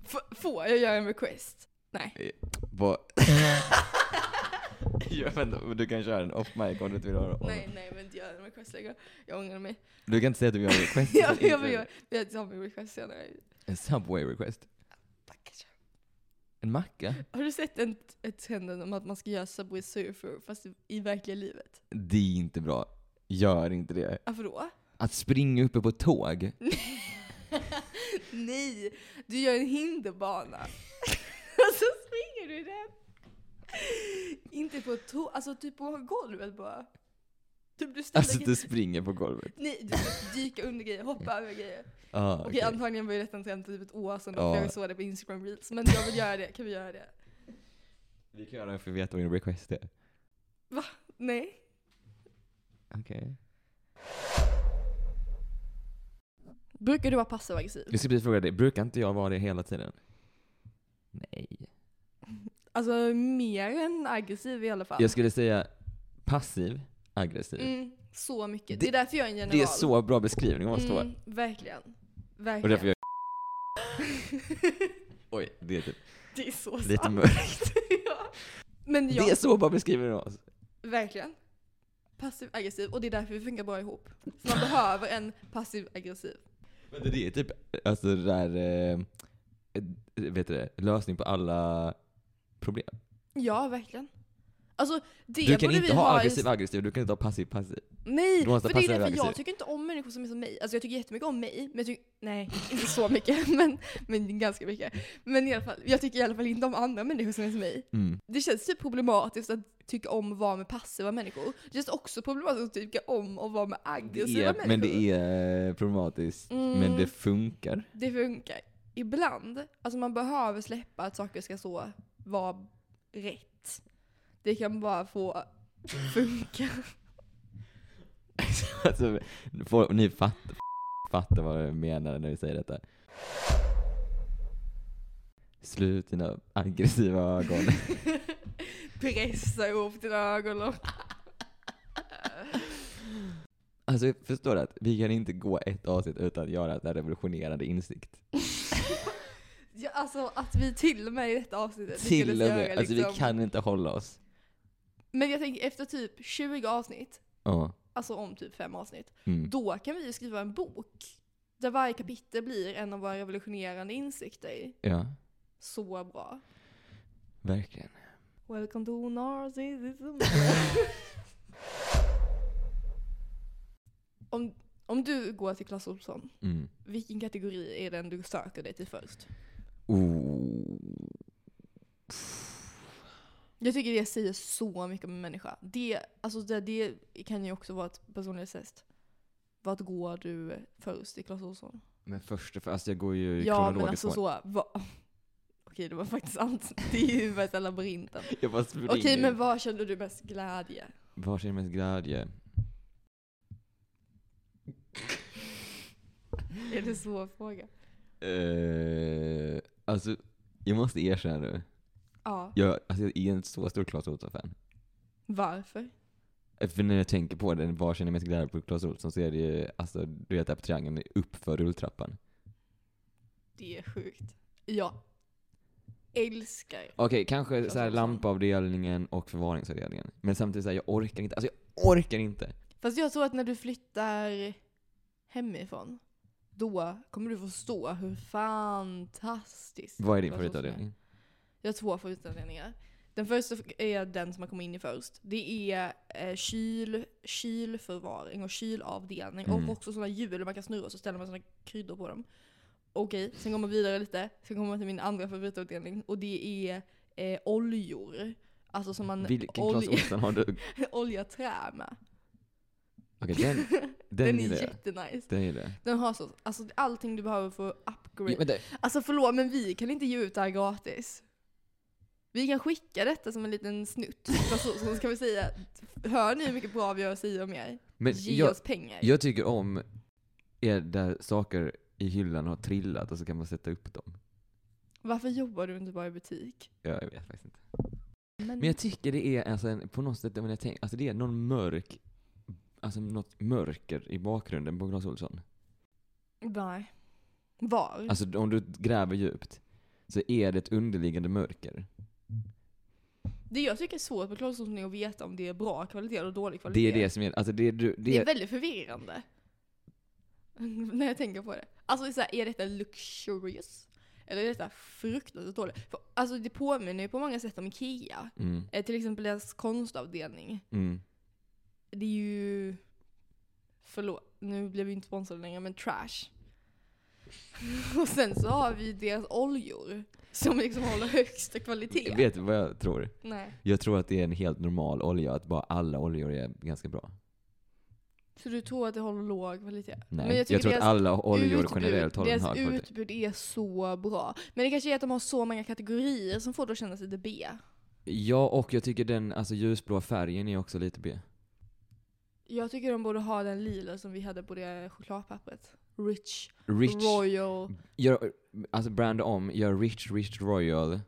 F- får jag göra en request? Nej.
vad, jag vet inte, men du kan köra den off mic om du inte vill höra om.
Nej, nej, men inte göra en request längre. Jag ångrar mig.
Du kan inte säga att du gör en request.
jag, jag, jag, jag, jag tar min request senare.
En subway request.
Tack.
En macka.
Har du sett en, ett trenden om att man ska göra Subway Surfer fast i, i verkliga livet?
Det är inte bra. Gör inte det.
Varför då?
Att springa uppe på tåg.
Nej, du gör en hinderbana. Och så springer du i den. Inte på tå, alltså typ på golvet bara. Typ du ställer
Alltså att du springer på golvet.
Nej, du ska dyka under grejer, hoppa över grejer.
Ah,
Okej,
okej.
antagligen var ju detta en trend för typ ett år sedan,
Ja.
och jag såg det på Instagram reels. Men jag vill göra det, kan vi göra det?
Vi kan göra det för att veta vad en request är.
Nej.
Okej.
Brukar du vara passiv aggressiv?
Jag skulle precis fråga dig, brukar inte jag vara det hela tiden? Nej.
Alltså mer än aggressiv i alla fall.
Jag skulle säga passiv, aggressiv.
Mm, så mycket. Det,
Det-
är därför jag är en general.
det är så bra beskrivning av oss två.
mm, Verkligen. Verkligen.
Och därför jag... Oj, det är typ
Det är så
lite
sant.
mörkt.
Ah, ja. Men
Det är
jag,
så bra beskrivning av oss.
verkligen. Passiv aggressiv och det är därför vi funkar bra ihop. För man behöver en passiv aggressiv.
Men det är typ, alltså det där, eh, eh, vet du det, lösning på alla problem.
Ja, verkligen. Alltså det
Du kan
borde vi
inte ha
i-
aggressiv aggressiv, du kan inte ha passiv passiv.
Nej,
Du måste
för det är
passa dig
därför jag
aggressiv.
tycker inte om människor som är som mig. Alltså jag tycker jättemycket om mig, men jag tycker, nej, inte så mycket, men, men ganska mycket. Men i alla fall, jag tycker i alla fall inte om andra människor som är som mig.
Mm.
Det känns typ problematiskt att tycka om att vara med passiva människor. Det känns också problematiskt att tycka om att vara med aggressiva
Det är,
människor.
men det är eh, problematiskt, men
Mm.
det funkar.
det funkar. Ibland, alltså man behöver släppa att saker ska så vara rätt. Det kan bara få funka.
alltså, folk- ni fattar, fattar vad jag menar när vi säger detta. Slut dina aggressiva ögon.
Pressa ihop dina ögonlock.
Alltså förstår du att vi kan inte gå ett avsnitt utan att göra en revolutionerande insikt.
ja, alltså att vi till och med i detta avsnittet
Till och
lyckades
med.
göra
Alltså vi
liksom-
kan inte hålla oss.
Men jag tänker efter typ 20 avsnitt,
Ja.
alltså om typ fem avsnitt,
Mm.
då kan vi ju skriva en bok. Där varje kapitel blir en av våra revolutionerande insikter.
Ja,
Så bra.
verkligen.
Welcome to narcissism. om, om du går till Clas Ohlson,
Mm.
vilken kategori är den du söker dig till först?
Oh.
Jag tycker det säger så mycket om en människa. Det, alltså det, det kan ju också vara ett personlighetstest. Vart går du först i Clas Ohlson?
Men först och främst, alltså jag går ju i
Ja men
kronologisk
alltså
ordning.
så. Va? Okej det var faktiskt sant. Det är ju värsta labyrinten.
Jag bara springer.
Okej men var kände du mest glädje?
Var känner mest glädje?
Är det svår fråga?
Eh, alltså, jag måste erkänna nu.
Ja.
Jag, alltså, jag är inte så stor Clas Ohlson-fan.
Varför?
Eh, För när jag tänker på det, var känner jag mest glädje på Clas Ohlson så är det ju, alltså du vet där på triangeln, uppför rulltrappan.
Det är sjukt. Jag älskar.
Okej, kanske
Clas
så här
Ohlson.
lampavdelningen och förvaringsavdelningen. Men samtidigt såhär, jag orkar inte. Alltså jag orkar inte!
Fast jag tror att när du flyttar hemifrån, då kommer du förstå hur fantastiskt
Vad är din
Clas Ohlson
favoritavdelning?
Jag har två favoritavdelningar. Den första är den som man kommer in i först. Det är eh, kyl, kylförvaring och kylavdelning.
Mm.
Och också sådana hjul man kan snurra och så ställer man sådana kryddor på dem. Okej, sen går man vidare lite. Sen kommer man till min andra favoritavdelning och det är eh, oljor. Alltså som man
Vilken Clas
olja,
Ohlson har du? Okej,
olja trä med.
den, den,
Den,
gillar
är
jag.
jättenice.
Den gillar jag.
Den har så, alltså allting du behöver för att upgrade.
Ja, men det,
Alltså förlåt men vi kan inte ge ut det här gratis. Vi kan skicka detta som en liten snutt. För så, så ska vi säga, hör ni hur mycket bra vi har att säga om er?
men
Ge
jag,
oss pengar.
jag tycker om är där saker i hyllan har trillat och så kan man sätta upp dem.
Varför jobbar du inte bara i butik?
Ja, jag vet faktiskt inte. Men jag tycker det är alltså en, på något sätt, om jag tänker, alltså det är någon mörk, alltså något mörker i bakgrunden på Clas Ohlson.
Mm. Nej. Var?
Alltså om du gräver djupt så är det ett underliggande mörker.
Det jag tycker är svårt på Clas Ohlson är att veta om det är bra kvalitet eller dålig
Det
kvalitet.
är det som är, alltså det är du,
Det
det
är
är,
väldigt förvirrande. När jag tänker på det. Alltså så här, är detta luxurious? Eller är detta fruktansvärt dåligt? För, alltså det påminner ju på många sätt om Ikea.
mm,
Eh, till exempel deras konstavdelning.
mm.
Det är ju... Förlåt, nu blev vi inte sponsrade längre, men trash. Och sen så har vi deras oljor. Som liksom håller högsta kvalitet.
Vet du vad jag tror?
Nej.
Jag tror att det är en helt normal olja, att bara alla oljor är ganska bra.
Så du tror att det håller låg kvalitet?
Nej,
Men
jag,
jag tycker
tror att
deras
alla oljor
Utbud-
generellt håller en
Deras
hög kvalitet.
utbud är så bra. Men det kanske är att de har så många kategorier som får det att kännas lite B.
Ja, och jag tycker den alltså, ljusblå färgen är också lite B.
Jag tycker de borde ha den lila som vi hade på det chokladpappret. Rich,
Rich.
Royal.
Gör, alltså brand om, gör Rich Rich Royal.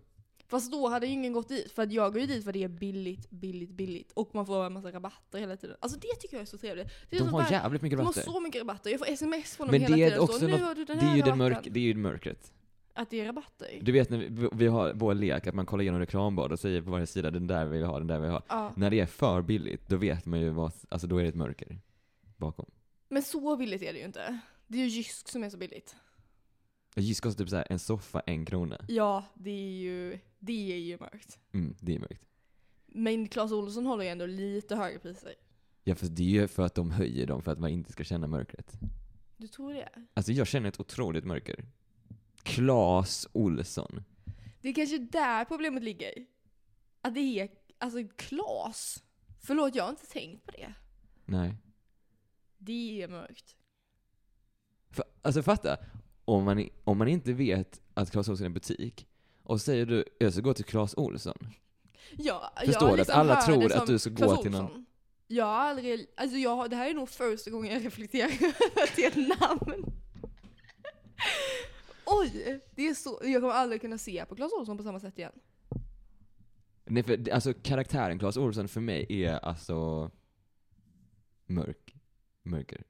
Fast då hade ju ingen gått dit, för att jag går ju dit för det är billigt, billigt, billigt. Och man får en massa rabatter hela tiden. Alltså det tycker jag är så trevligt. Det är
De
så
har
bara-
jävligt mycket
de har
rabatter.
så mycket rabatter. Jag får sms från dem
Men
hela
det är
tiden.
också
så, nu
något-
har du den
Det
här
är ju det,
rabatten.
mörk, det är ju det mörkret.
Att det är rabatter.
Du vet när vi, vi har vår lek att man kollar igenom reklamblad och säger på varje sida den där vill jag ha, den där vill jag ha.
Ja.
När det är för billigt, då vet man ju vad, alltså då är det ett mörker bakom.
Men så billigt är det ju inte. Det är ju Jysk som är så billigt.
Just kostar typ såhär, en soffa en krona.
Ja, det är ju, det är ju mörkt.
Mm, det är mörkt.
Men Clas Ohlson håller ju ändå lite högre priser.
Ja för det är ju för att de höjer dem för att man inte ska känna mörkret.
Du tror det?
Alltså jag känner ett otroligt mörker. Klas Olsson.
Det är kanske där problemet ligger. Att det är, alltså Clas. Förlåt, jag har inte tänkt på det.
Nej.
Det är mörkt.
Fa- alltså fatta, om man, om man inte vet att Clas Ohlson är en butik och säger du jag ska gå till Clas Ohlson.
Ja,
Förstår du
jag
att
liksom
alla
hör
tror
det
att
som
du ska
Clas
gå till
Ohlson.
någon-
Jag har aldrig, alltså jag, har- det här är nog första gången jag reflekterar över att det är ett namn. Oj! Det är så, jag kommer aldrig kunna se på Clas Ohlson på samma sätt igen.
Nej, för, det- alltså karaktären Clas Ohlson för mig är alltså mörk. Mörker.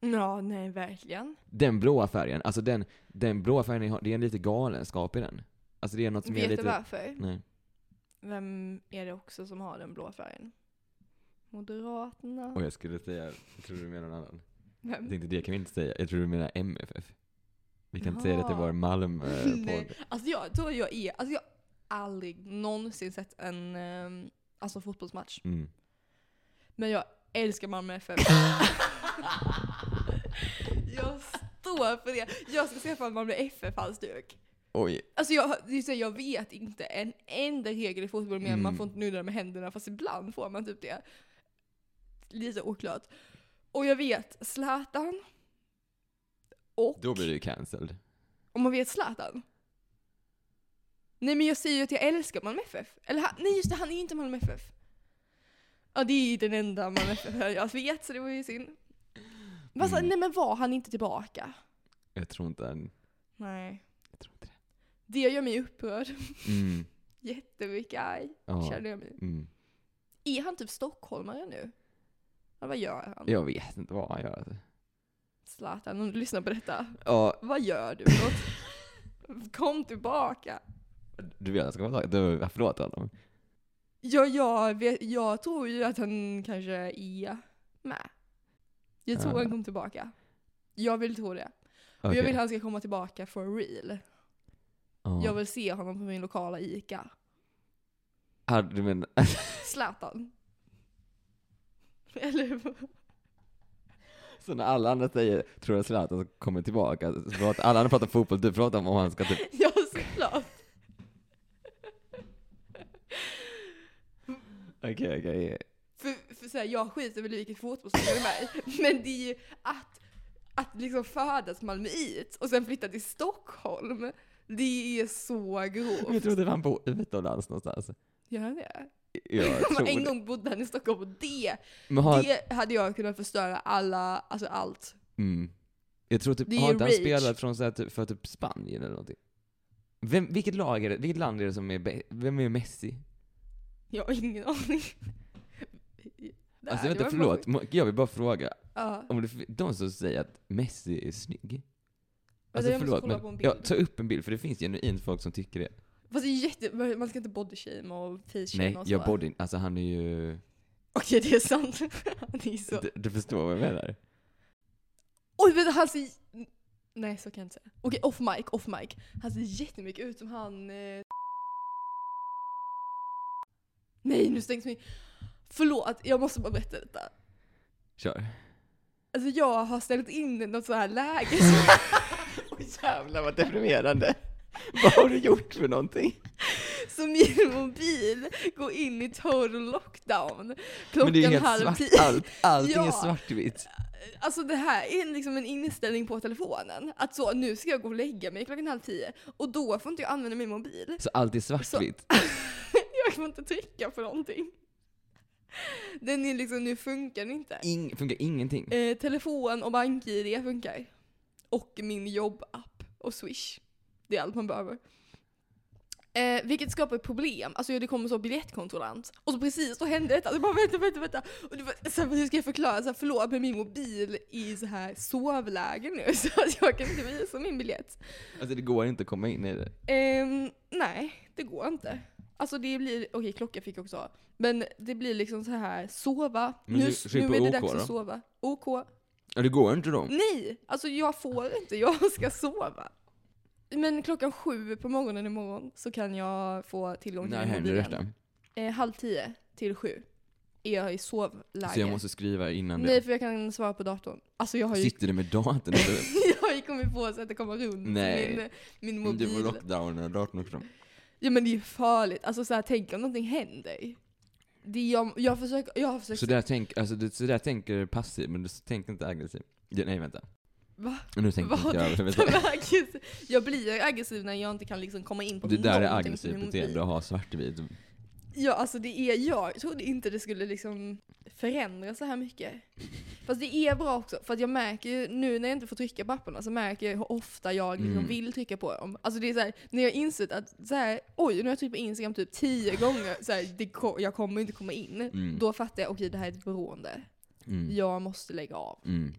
Ja, nej verkligen.
Den blåa färgen, alltså den, den blåa färgen, har- det är en lite galenskap i den. Alltså det är något som är
Vet
lite...
du varför?
Nej.
Vem är det också som har den blå färgen? Moderaterna.
Och jag skulle säga, jag tror du menar någon annan.
Vem?
Jag tänkte det kan vi inte säga. Jag tror du menar MFF. Vi kan inte säga att det var
Jaha. Nej.
Malmö-podd.
Alltså jag tror jag är, alltså jag har aldrig någonsin sett en ehm, alltså fotbollsmatch.
Mm.
Men jag älskar Malmö FF. jag står för det. Jag ska se på Malmö FF halsduk.
Oj.
Alltså jag, det är så här, jag vet inte en enda regel i fotboll mer än
Mm.
man får inte nudda med händerna fast ibland får man typ det. Lite oklart. Och jag vet Zlatan. Och
Då blir du ju cancelled.
om man vet Zlatan. Nej men jag säger ju att jag älskar Malmö FF. Eller han, nej just det, han är ju inte Malmö FF. Ja det är ju den enda Malmö FF jag vet så det var ju synd. Fast,
Mm.
Nej men var han inte tillbaka?
Jag tror inte han...
Nej.
Jag tror inte det.
Det gör mig upprörd.
Mm.
Jättemycket arg
Ja.
känner jag mig.
Mm.
Är han typ stockholmare nu? Eller vad gör han?
Jag vet inte vad han gör.
Zlatan, om du lyssnar på detta.
Ja,
Vad gör du för något? Kom tillbaka.
du vet jag ska vara taggad. Du, förlåt honom.
Ja, jag, vet, jag tror ju att han kanske är med. Jag tror
Ja.
han kom tillbaka. Jag vill tro det. Och jag
Okej.
vill han ska komma tillbaka for real.
Ja.
Jag vill se honom på min lokala ICA.
Ah, du menar...
Zlatan. Eller vad?
Så när alla andra säger tror att Zlatan kommer tillbaka, så pratar, alla andra pratar fotboll, du pratar om om han ska typ...
Ja, såklart.
Okej, okej.
För, för så här, jag skiter väl i vilket fotbollslag jag är med i. Men det är ju att, att liksom födas malmöit och sen flytta till Stockholm. Det är så
Men Jag
grovt.
trodde han bor utomlands någonstans.
Gör han det?
Ja, jag tror
en
det.
gång bodde han i Stockholm och det,
Men har,
det hade jag kunnat förstöra alla, alltså allt.
mm. Jag tror typ,
Det är
har inte han
rage.
spelat från så här, typ, för typ Spanien eller någonting? Vem, vilket lag är det, vilket land är det som är bä- vem är Messi?
Jag har ingen aning. Det här,
alltså
det
vänta,
var
förlåt,
sjukt.
må- jag vill bara fråga,
Ja.
om det, de som säger att Messi är snygg,
Alltså,
alltså
jag måste
förlåt
kolla på en
men,
bild.
ja, ta upp en bild för det finns genuint folk som tycker det.
Fast det är jätte, man ska inte bodyshame och
Nej,
face-shame och så.
jag borde inte- alltså han är ju,
Okej, det är sant. det är så.
du, du förstår vad jag menar?
Oj, vänta, han ser... Nej, så kan jag inte säga. Okej, off mic, off mic. Han ser jättemycket ut som han... Eh... Nej, nu stängs min... Förlåt, jag måste bara berätta detta.
Kör.
Alltså jag har ställt in något så här läge. Så... Oj, jävlar.
vad deprimerande. vad har du gjort för någonting?
Så min mobil går in i total lockdown.
Men
Klockan
det är ju helt
halv
svart,
tio.
allt, allting är
Ja.
svartvitt.
Alltså det här är liksom en inställning på telefonen. Att så, nu ska jag gå och lägga mig klockan halv tio. Och då får inte jag använda min mobil.
Så allt är svartvitt.
Jag kan inte trycka på någonting. Den är liksom, nu funkar den inte.
Ing, funkar ingenting.
Eh, telefon och bank-id funkar. Och min jobbapp och swish. Det är allt man behöver. Eh, vilket skapar problem. Alltså det kommer så biljettkontrollant. Och så precis då hände detta. Så jag bara vänta, vänta, vänta. Och det var, så här, hur ska jag förklara? Så här, förlåt men min mobil är i så här sovläge nu. Så att jag kan inte visa min biljett.
Alltså det går inte att komma in i det.
Ehm, nej, det går inte. Alltså det blir, okej klocka fick jag också ha. Men det blir liksom så här, sova.
Men
nu
du- skriv
nu
på
är det
OK
dags
då.
att sova. OK.
Ja det går inte då.
Nej! Alltså jag får inte, jag ska sova. Men klockan sju på morgonen imorgon så kan jag få tillgång till
När
min
händer
mobil
detta?
igen. Eh, halv tio till sju är jag i sovläge.
Så jag måste skriva innan
Nej för jag kan svara på datorn. Alltså jag har
det.
ju,
Sitter du med datorn? eller?
jag har ju kommit på så att det kommer runt
Nej.
min, min
Du får
mobil.
lockdowna datorn också.
Ja men det är ju farligt. Alltså så här, tänk om någonting händer. Det är jag, jag, försöker, jag har försökt...
Så där, tänk, alltså, du, så där tänker du passivt men du tänker inte aggressivt. Ja, nej vänta.
Va?
Nu tänkte
Vad?
inte jag över.
De
Vänta.
är aggressiva. Jag blir aggressiv när jag inte kan liksom komma in på
Det där är
någonting
aggressivt
med min
beteende
mobil.
att ha svartvit.
Ja, alltså det är, jag trodde inte det skulle liksom förändras så här mycket. Fast det är bra också, för att jag märker ju nu när jag inte får trycka på apparna så märker jag hur ofta jag liksom
Mm.
vill trycka på dem. Alltså det är så här, när jag har insett att så här, oj, nu har jag tryckt på Instagram typ tio gånger, så här, det, ko- jag kommer inte komma in.
Mm.
Då fattar jag, okej det här är ett beroende.
Mm.
Jag måste lägga av.
Mm.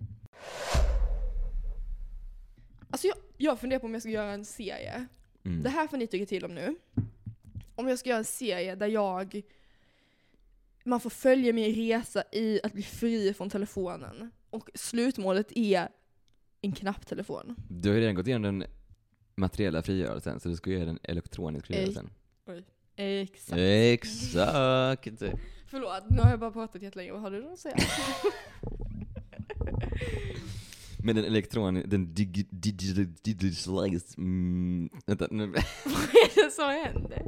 Alltså jag, jag funderar på om jag ska göra en serie.
Mm.
Det här får ni tycka till om nu. Om jag ska göra en serie där jag... Man får följa min resa i att bli fri från telefonen. Och slutmålet är en knapptelefon.
Du har ju redan gått igenom den materiella frigörelsen, så du ska göra den elektroniska frigörelsen.
Exakt.
Mm. Exakt!
Förlåt, nu har jag bara pratat jättelänge. Vad har du att säga?
Men den elektroniska, den dig- dig- digitalized... Mm, vänta, nu...
Vad är det som händer?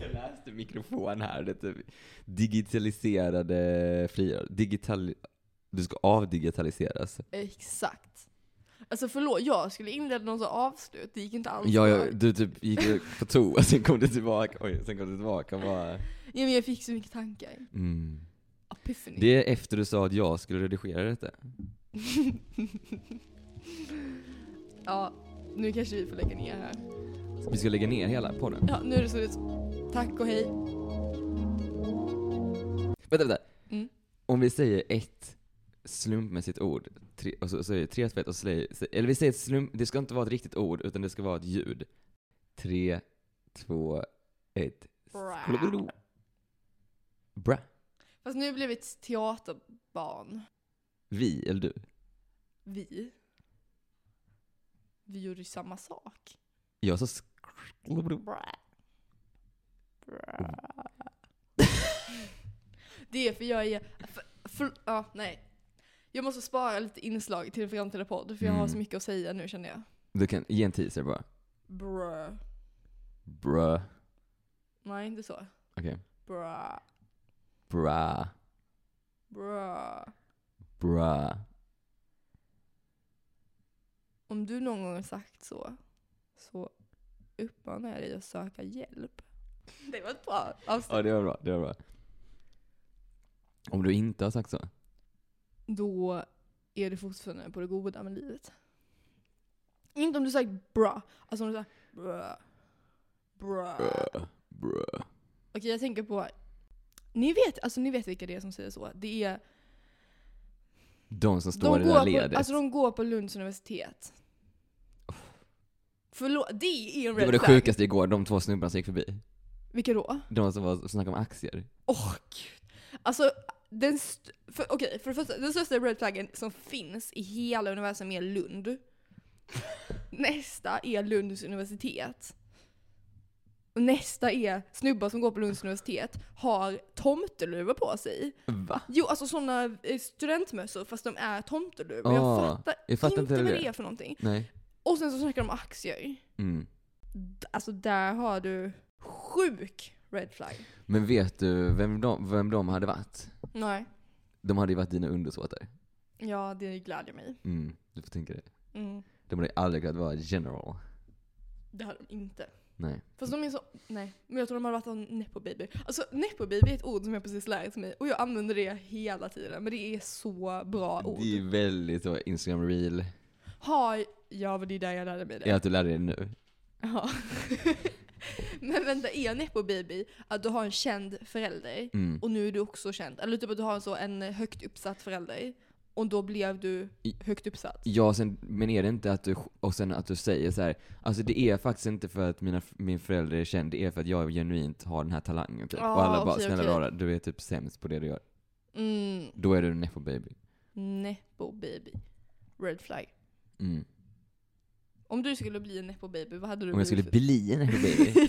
Jag läste mikrofon här. Det är typ digitaliserade frigörelse. Digital... Du ska avdigitaliseras.
Exakt. Alltså förlåt, jag skulle inleda någon sån avslut. Det gick inte alls
Ja,
bra.
ja, du typ gick på toa, sen kom du tillbaka. Oj, sen kom du tillbaka och bara...
ja, men jag fick så mycket tankar.
Mm.
Epiphany.
Det är efter du sa att jag skulle redigera detta.
Ja, nu kanske vi får lägga ner här.
Vi ska lägga ner hela podden.
Ja, nu är det slut. Tack och hej.
Vänta, vänta.
Mm.
Om vi säger ett slumpmässigt ord, tre, och så säger tre tvätt och så säger, eller vi säger ett slump, det ska inte vara ett riktigt ord, utan det ska vara ett ljud. Tre, två, ett. Bra. Bra.
Fast nu blev vi ett teaterbarn.
Vi, eller du?
Vi. Vi gjorde ju samma sak.
Jag sa sklubbro.
Brä. Brä. Det är för jag är... För, för, ja, nej. Jag måste spara lite inslag till framtida podd för jag har
Mm.
så mycket att säga nu känner jag.
Du kan ge en teaser bara.
Brö.
Bra.
Nej, inte så.
Okej.
Brö.
Bra.
Brö.
Bra.
Om du någon gång har sagt så, så uppmanar jag dig att söka hjälp. Det var ett bra
Ja,
avsnitt.
det var bra. Det var bra. Om du inte har sagt så.
Då är du fortfarande på det goda med livet. Inte om du sagt bra. Alltså om du sagt bra. Bra.
Bra. Bra.
Okej, jag tänker på... Ni vet, alltså, ni vet vilka det är som säger så. Det är...
De som står
De
i det där
går,
ledet.
på, alltså, de går på Lunds universitet. Förlåt, det är en
det var det
red flag.
sjukaste igår, de två snubbarna som gick förbi.
Vilka då?
De som var, som snackade om aktier.
Åh gud. Alltså, den st- för, okej, för det första, den största red flaggen som finns i hela universum är Lund. Nästa är Lunds universitet. Och nästa är snubbar som går på Lunds universitet har tomteluvor på sig.
Va?
Jo, alltså sådana eh, studentmössor fast de är tomteluvor.
Ah,
jag fattar,
jag fattar inte
inte vad
heller
det
det.
är för någonting.
Nej.
Och sen så snackar de om aktier.
Mm.
D- Alltså där har du sjuk red flag.
Men vet du vem de, vem de hade varit?
Nej.
De hade ju varit dina undersåtar.
Ja, det gläder mig.
Mm. Du får tänka det.
Mm.
De hade aldrig kunnat vara general.
Det hade de inte.
Nej.
Fast de är så... Nej. Men jag tror de har varit en nepo baby. Alltså nepo baby är ett ord som jag precis lärt mig och jag använder det hela tiden. Men det är så bra ord.
Det är väldigt så Instagram reel.
Har... Ja, men det är där jag lärde mig det.
Ja, att du lärde dig det nu.
Ja. men vänta, är nepo baby att du har en känd förälder
Mm.
och nu är du också känd? Eller typ att du har en, så, en högt uppsatt förälder och då blev du
I-
högt uppsatt?
Ja, sen, men är det inte att du, och sen att du säger så här, alltså det är faktiskt inte för att mina, min förälder är känd, det är för att jag genuint har den här talangen typ.
Ja,
och alla bara,
Ah, okej,
snälla
okej.
rara, du är typ sämst på det du gör.
Mm.
Då är du en nepo baby.
Nepo baby. Red flag.
Mm.
Om du skulle bli en nepo baby, vad hade du
Om jag
blivit
skulle
för-
bli en nepo baby.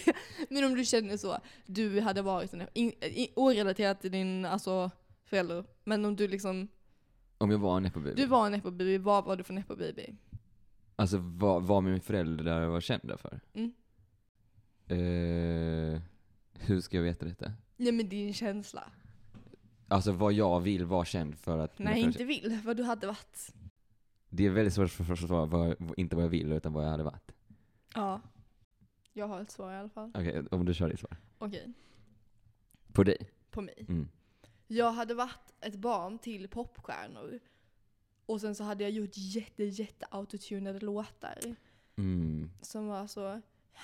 Men om du känner så, du hade varit en, in, in, orelaterat till din alltså, förälder, men om du liksom,
Om jag var en nepo baby.
du var en nepo-baby, vad var du för nepo-baby?
Alltså vad, vad mina föräldrar var kända för.
Mm.
Eh, hur ska jag veta detta?
Nej men din känsla.
Alltså vad jag vill vara känd för att mina
Nej
föräldrar-
inte vill, vad du hade varit.
Det är väldigt svårt för- för att svara, vad, inte vad jag vill utan vad jag hade varit.
Ja. Jag har ett svar i alla fall.
Okej, om du kör ditt svar.
Okej,
På dig?
på mig.
Mm.
Jag hade varit ett barn till popstjärnor. Och sen så hade jag gjort jätte jätte autotunade låtar.
Mm.
Som var så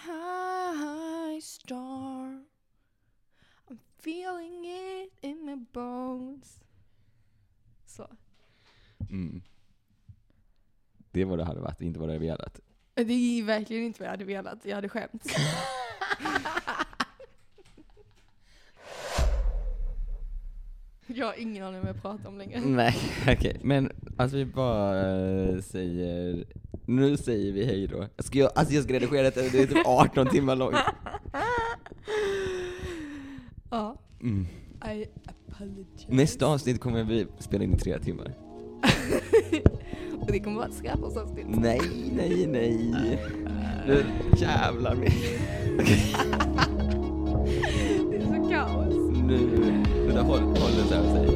High star I'm feeling it in my bones Så.
Mm. Det var det hade varit, inte vad det hade velat.
Det är verkligen inte vad jag hade velat. Jag hade skämt. Jag har ingen aning om vad jag pratar om längre.
Nej, okej. Men att vi bara eh, säger... Nu säger vi hej då. Ska jag, alltså jag ska redigera detta, det är typ 18 timmar långt.
Ja,
Mm.
I apologize.
Nästa avsnitt kommer vi spela in i tre timmar.
Och det kommer vara ett skrattavsnitt.
Nej, nej, nej. Nu jävlar mig.
Det är så kaos.
Nu. Vänta, håll, håll den så här och säg.